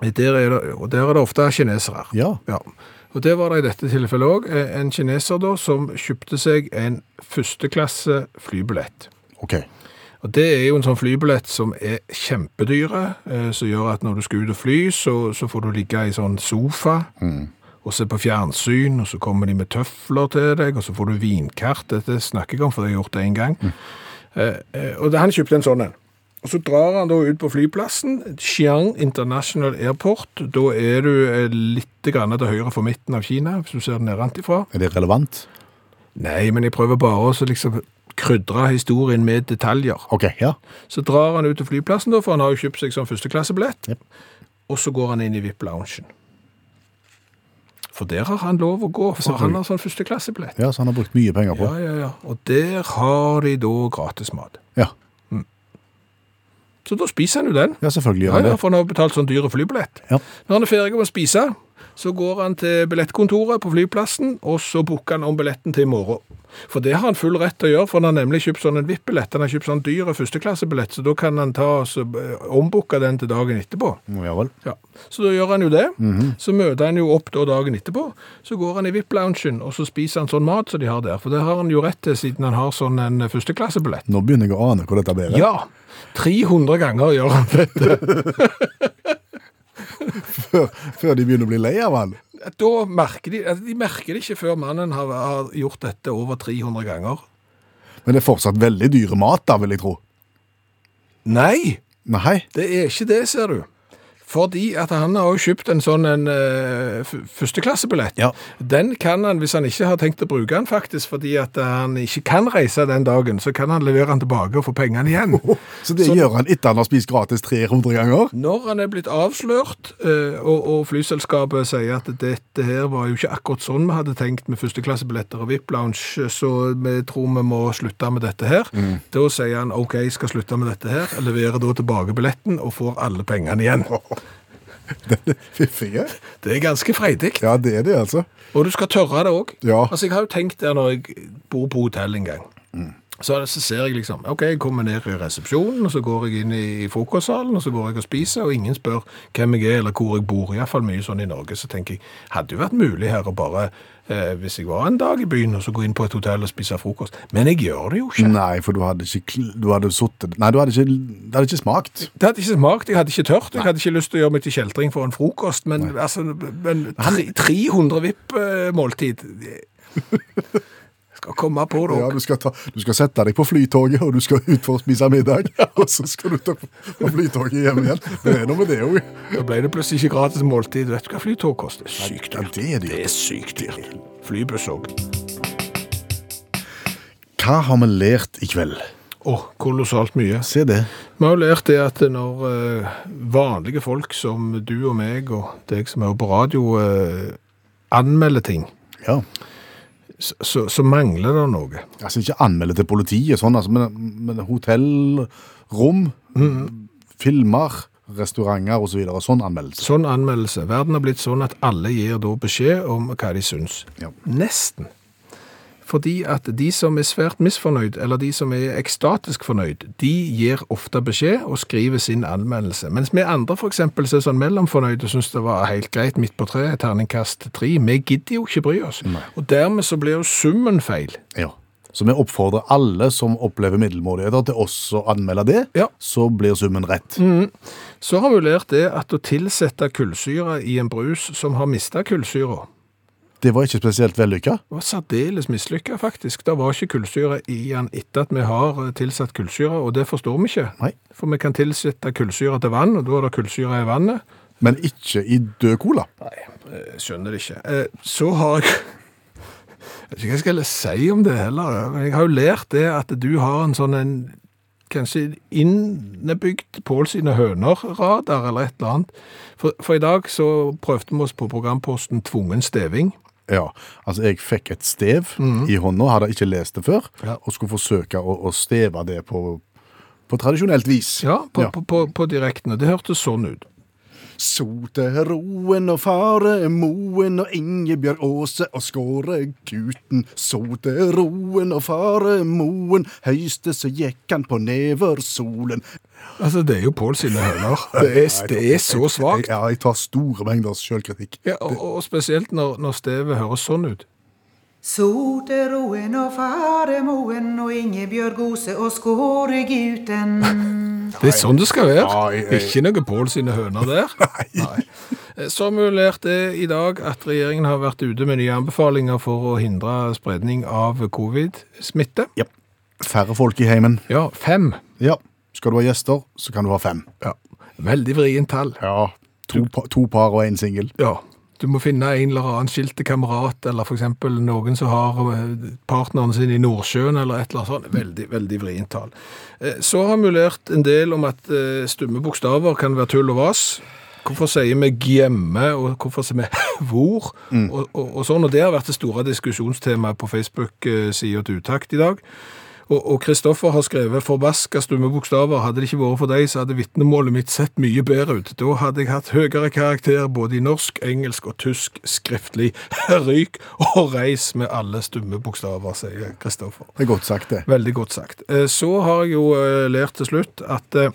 B: Eh, Der er det, og der er det ofte kinesere.
C: Ja.
B: Og det var det i dette tilfellet òg. En kineser da, som kjøpte seg en førsteklasse flybillett.
C: OK.
B: Og Det er jo en sånn flybillett som er kjempedyre, eh, som gjør at når du skal ut og fly, så, så får du ligge i sånn sofa og se på fjernsyn, og så kommer de med tøfler til deg, og så får du vinkart. Dette snakker jeg om, for jeg har gjort det en gang. Eh, eh, og det, han kjøpte en sånn en. Og Så drar han da ut på flyplassen, Xiang International Airport. Da er du eh, litt grann til høyre for midten av Kina, hvis du ser den nedenfra.
C: Er det relevant?
B: Nei, men jeg prøver bare å så liksom krydre historien med detaljer.
C: OK, ja.
B: Så drar han ut til flyplassen, da, for han har jo kjøpt seg sånn førsteklassebillett. Og så går han inn i VIP-loungen. For der har han lov å gå, for han har sånn førsteklassebillett.
C: ja. Så han har brukt mye penger på.
B: Ja, ja, ja. Og der har de da gratis mat.
C: Ja,
B: Så da spiser han jo den.
C: ja selvfølgelig gjør
B: Ja,
C: han
B: ja,
C: det.
B: for han har betalt sånn dyre flybillett.
C: Ja.
B: Når han er ferdig med å spise, så går han til billettkontoret på flyplassen, og så booker han om billetten til i morgen. For det har han full rett til å gjøre, for han har nemlig kjøpt sånn en VIP-billett. Han har kjøpt sånn dyre førsteklassebillett, så da kan han ta og så, eh, ombooke den til dagen etterpå.
C: Ja vel.
B: Ja. Så da gjør han jo det. Så møter han jo opp da dagen etterpå. Så går han i VIP-loungen, og så spiser han sånn mat som de har der. For det har han jo rett til, siden han har sånn en eh, førsteklassebillett.
C: Nå begynner jeg å ane hvor dette blir.
B: Ja! 300 ganger gjør han det.
C: Før, før de begynner å bli lei av han.
B: da merker de, altså, de merker det ikke før mannen har, har gjort dette over 300 ganger.
C: Men det er fortsatt veldig dyre mat, da, vil jeg tro.
B: Nei,
C: Nei.
B: det er ikke det, ser du. Fordi at han har jo kjøpt en sånn en, eh, f- førsteklassebillett.
C: Ja.
B: Den kan han, hvis han ikke har tenkt å bruke den faktisk, fordi at han ikke kan reise den dagen, så kan han levere den tilbake og få pengene igjen.
C: Så det
B: Så-
C: gjør han etter han har spist gratis 300 ganger?
B: Når han er blitt avslørt, eh, og, og flyselskapet sier at dette her var jo ikke akkurat sånn vi hadde tenkt med førsteklassebilletter og VIP-lounge, så vi tror vi må slutte med dette her. Da sier han OK, jeg skal slutte med dette her, leverer da tilbake billetten og får alle pengene igjen.
C: Fiffige.
B: Det er ganske freidig.
C: Ja, det er det, altså.
B: Og du skal tørre det òg.
C: Ja.
B: Altså, jeg har jo tenkt det når jeg bor på hotell en gang.
C: Mm.
B: Så, er det- så ser jeg liksom OK, jeg kommer ned i resepsjonen, og så går jeg inn i frokostsalen, og så går jeg og spiser, og ingen spør hvem jeg er eller hvor jeg bor. Iallfall mye sånn i Norge. Så tenker jeg hadde jo vært mulig her å bare, eh, hvis jeg var en dag i byen, og så gå inn på et hotell og spise frokost. Men jeg gjør det jo ikke.
C: Nei, for du hadde ikke kl- Du hadde sittet Nei, du hadde ikke, det hadde ikke smakt.
B: Det hadde ikke smakt, jeg hadde ikke tørt, jeg hadde ikke lyst til å gjøre meg til kjeltring for en frokost, men, altså, men tre- 300 VIP-måltid Skal komme på det
C: Ja,
B: òg.
C: du skal, ta, du skal sette deg på flytoget, og du skal ut for å spise middag. Og så skal du ta på på flytoget hjem igjen. Det er noe med det òg.
B: Da ble det plutselig ikke gratis måltid. Vet du hva flytog koster? Sykt
C: Ja,
B: dyrt.
C: det er
B: Det
C: dyrt.
B: er sykt dyrt. Flybuss òg.
C: Hva har vi lært i kveld?
B: Å, kolossalt mye.
C: Se det.
B: Vi har jo lært det at når eh, vanlige folk som du og meg og deg som hører på radio, eh, anmelder ting,
C: Ja.
B: så, så, så mangler det noe.
C: Altså, ikke anmelde til politiet, sånn, altså, men, men hotell, rom, filmer, restauranter osv. Og sånn anmeldelse.
B: Sånn anmeldelse. Verden har blitt sånn at alle gir da beskjed om hva de syns.
C: Ja.
B: Nesten. Fordi at de som er svært misfornøyd, eller de som er ekstatisk fornøyd, de gir ofte beskjed og skriver sin anmeldelse. Mens vi andre for eksempel så er sånn mellomfornøyde og synes det var helt greit midt på treet, terningkast tre. Vi gidder jo ikke bry oss. Og dermed så blir jo summen feil.
C: Ja. Så vi oppfordrer alle som opplever middelmådigheter til også å anmelde det,
B: Ja.
C: så blir summen rett.
B: Så har vi lært det at å tilsette kullsyre i en brus som har mistet kullsyra,
C: Det var ikke spesielt vellykka.
B: var særdeles mislykka, faktisk. Det var ikke kullsyre i den etter at vi har eh, tilsatt kullsyre, og det forstår vi ikke.
C: Nei.
B: For vi kan tilsette kullsyre til vann, og da er det kullsyre i vannet.
C: Men ikke i død cola.
B: Jeg skjønner det ikke. Eh, Så har jeg Jeg vet ikke hva jeg skal si om det heller, men jeg har jo lært det at du har en sånn en kanskje innebygd Pål sine høner-radar eller et eller annet. For, for i dag så prøvde vi oss på programposten Tvungen steving.
C: Ja, altså jeg fikk et stev i hånda, hadde ikke lest det før, og skulle forsøke å, å steve det på, på tradisjonelt vis.
B: Ja, på, På, på, på direkten. Og det hørtes sånn ut.
C: Soteroen og faremoen og Ingebjørg Aase og Skårekuten. Soteroen og faremoen, høyste så gikk han på neversolen.
B: Altså, det er jo Pål sine høner. Det er, det er så svakt.
C: Ja, jeg tar store mengder sjølkritikk.
B: Ja, og, og spesielt når, når stevet høres sånn ut.
G: Soteroen og faremoen og Ingebjørg Ose og Skåreguten.
B: Det er sånn det skal være.
C: Nei, jeg-
B: Ikke noe Pål sine høner der. Nei. Eh, Som vi lærte i dag, at regjeringen har vært ute med nye anbefalinger for å hindre spredning av covid-smitte.
C: Ja. Færre folk i heimen.
B: Ja, fem.
C: Ja. Skal du ha gjester, så kan du ha fem.
B: Ja. Veldig vrient tall.
C: Ja. To, pa to par og én singel.
B: Ja. Du må finne en eller annen skilte kamerat, eller for eksempel noen som har eh, partneren sin i Nordsjøen, eller et eller annet sånt. Veldig, veldig vrient tall. Eh, Så har vi lært en del om at eh, stumme bokstaver kan være tull og vas. Hvorfor sier vi 'gjemme', og hvorfor sier vi 'hvor', og, og, og sånn. Og det har vært det store diskusjonstemaet på Facebook-sida til Utakt i dag. Og, og Kristoffer har skrevet 'forbaska stumme bokstaver'. Hadde det ikke vært for deg, så hadde vitnemålet mitt sett mye bedre ut. Da hadde jeg hatt høyere karakter både i norsk, engelsk og tysk skriftlig. Ryk og reis med alle stumme bokstaver, sier Kristoffer.
C: Det er godt sagt, det.
B: Veldig godt sagt. Eh, Så har jeg jo eh, lært til slutt at eh,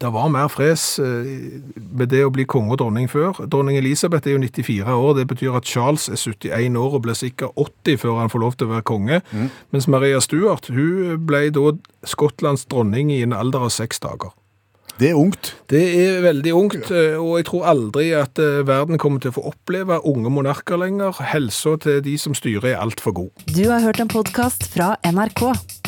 B: det var mer fres eh, med det å bli konge og dronning før. Dronning Elisabeth er jo 94 år. Det betyr at Charles er 71 år og ble sikkert 80 før han får lov til å være konge. Mens Maria Stuart hun ble da Skottlands dronning i en alder av seks dager.
C: Det er ungt.
B: Det er veldig ungt, eh, og jeg tror aldri at eh, verden kommer til å få oppleve unge monarker lenger. Helsa til de som styrer, er altfor god.
A: Du har hørt en podkast fra NRK.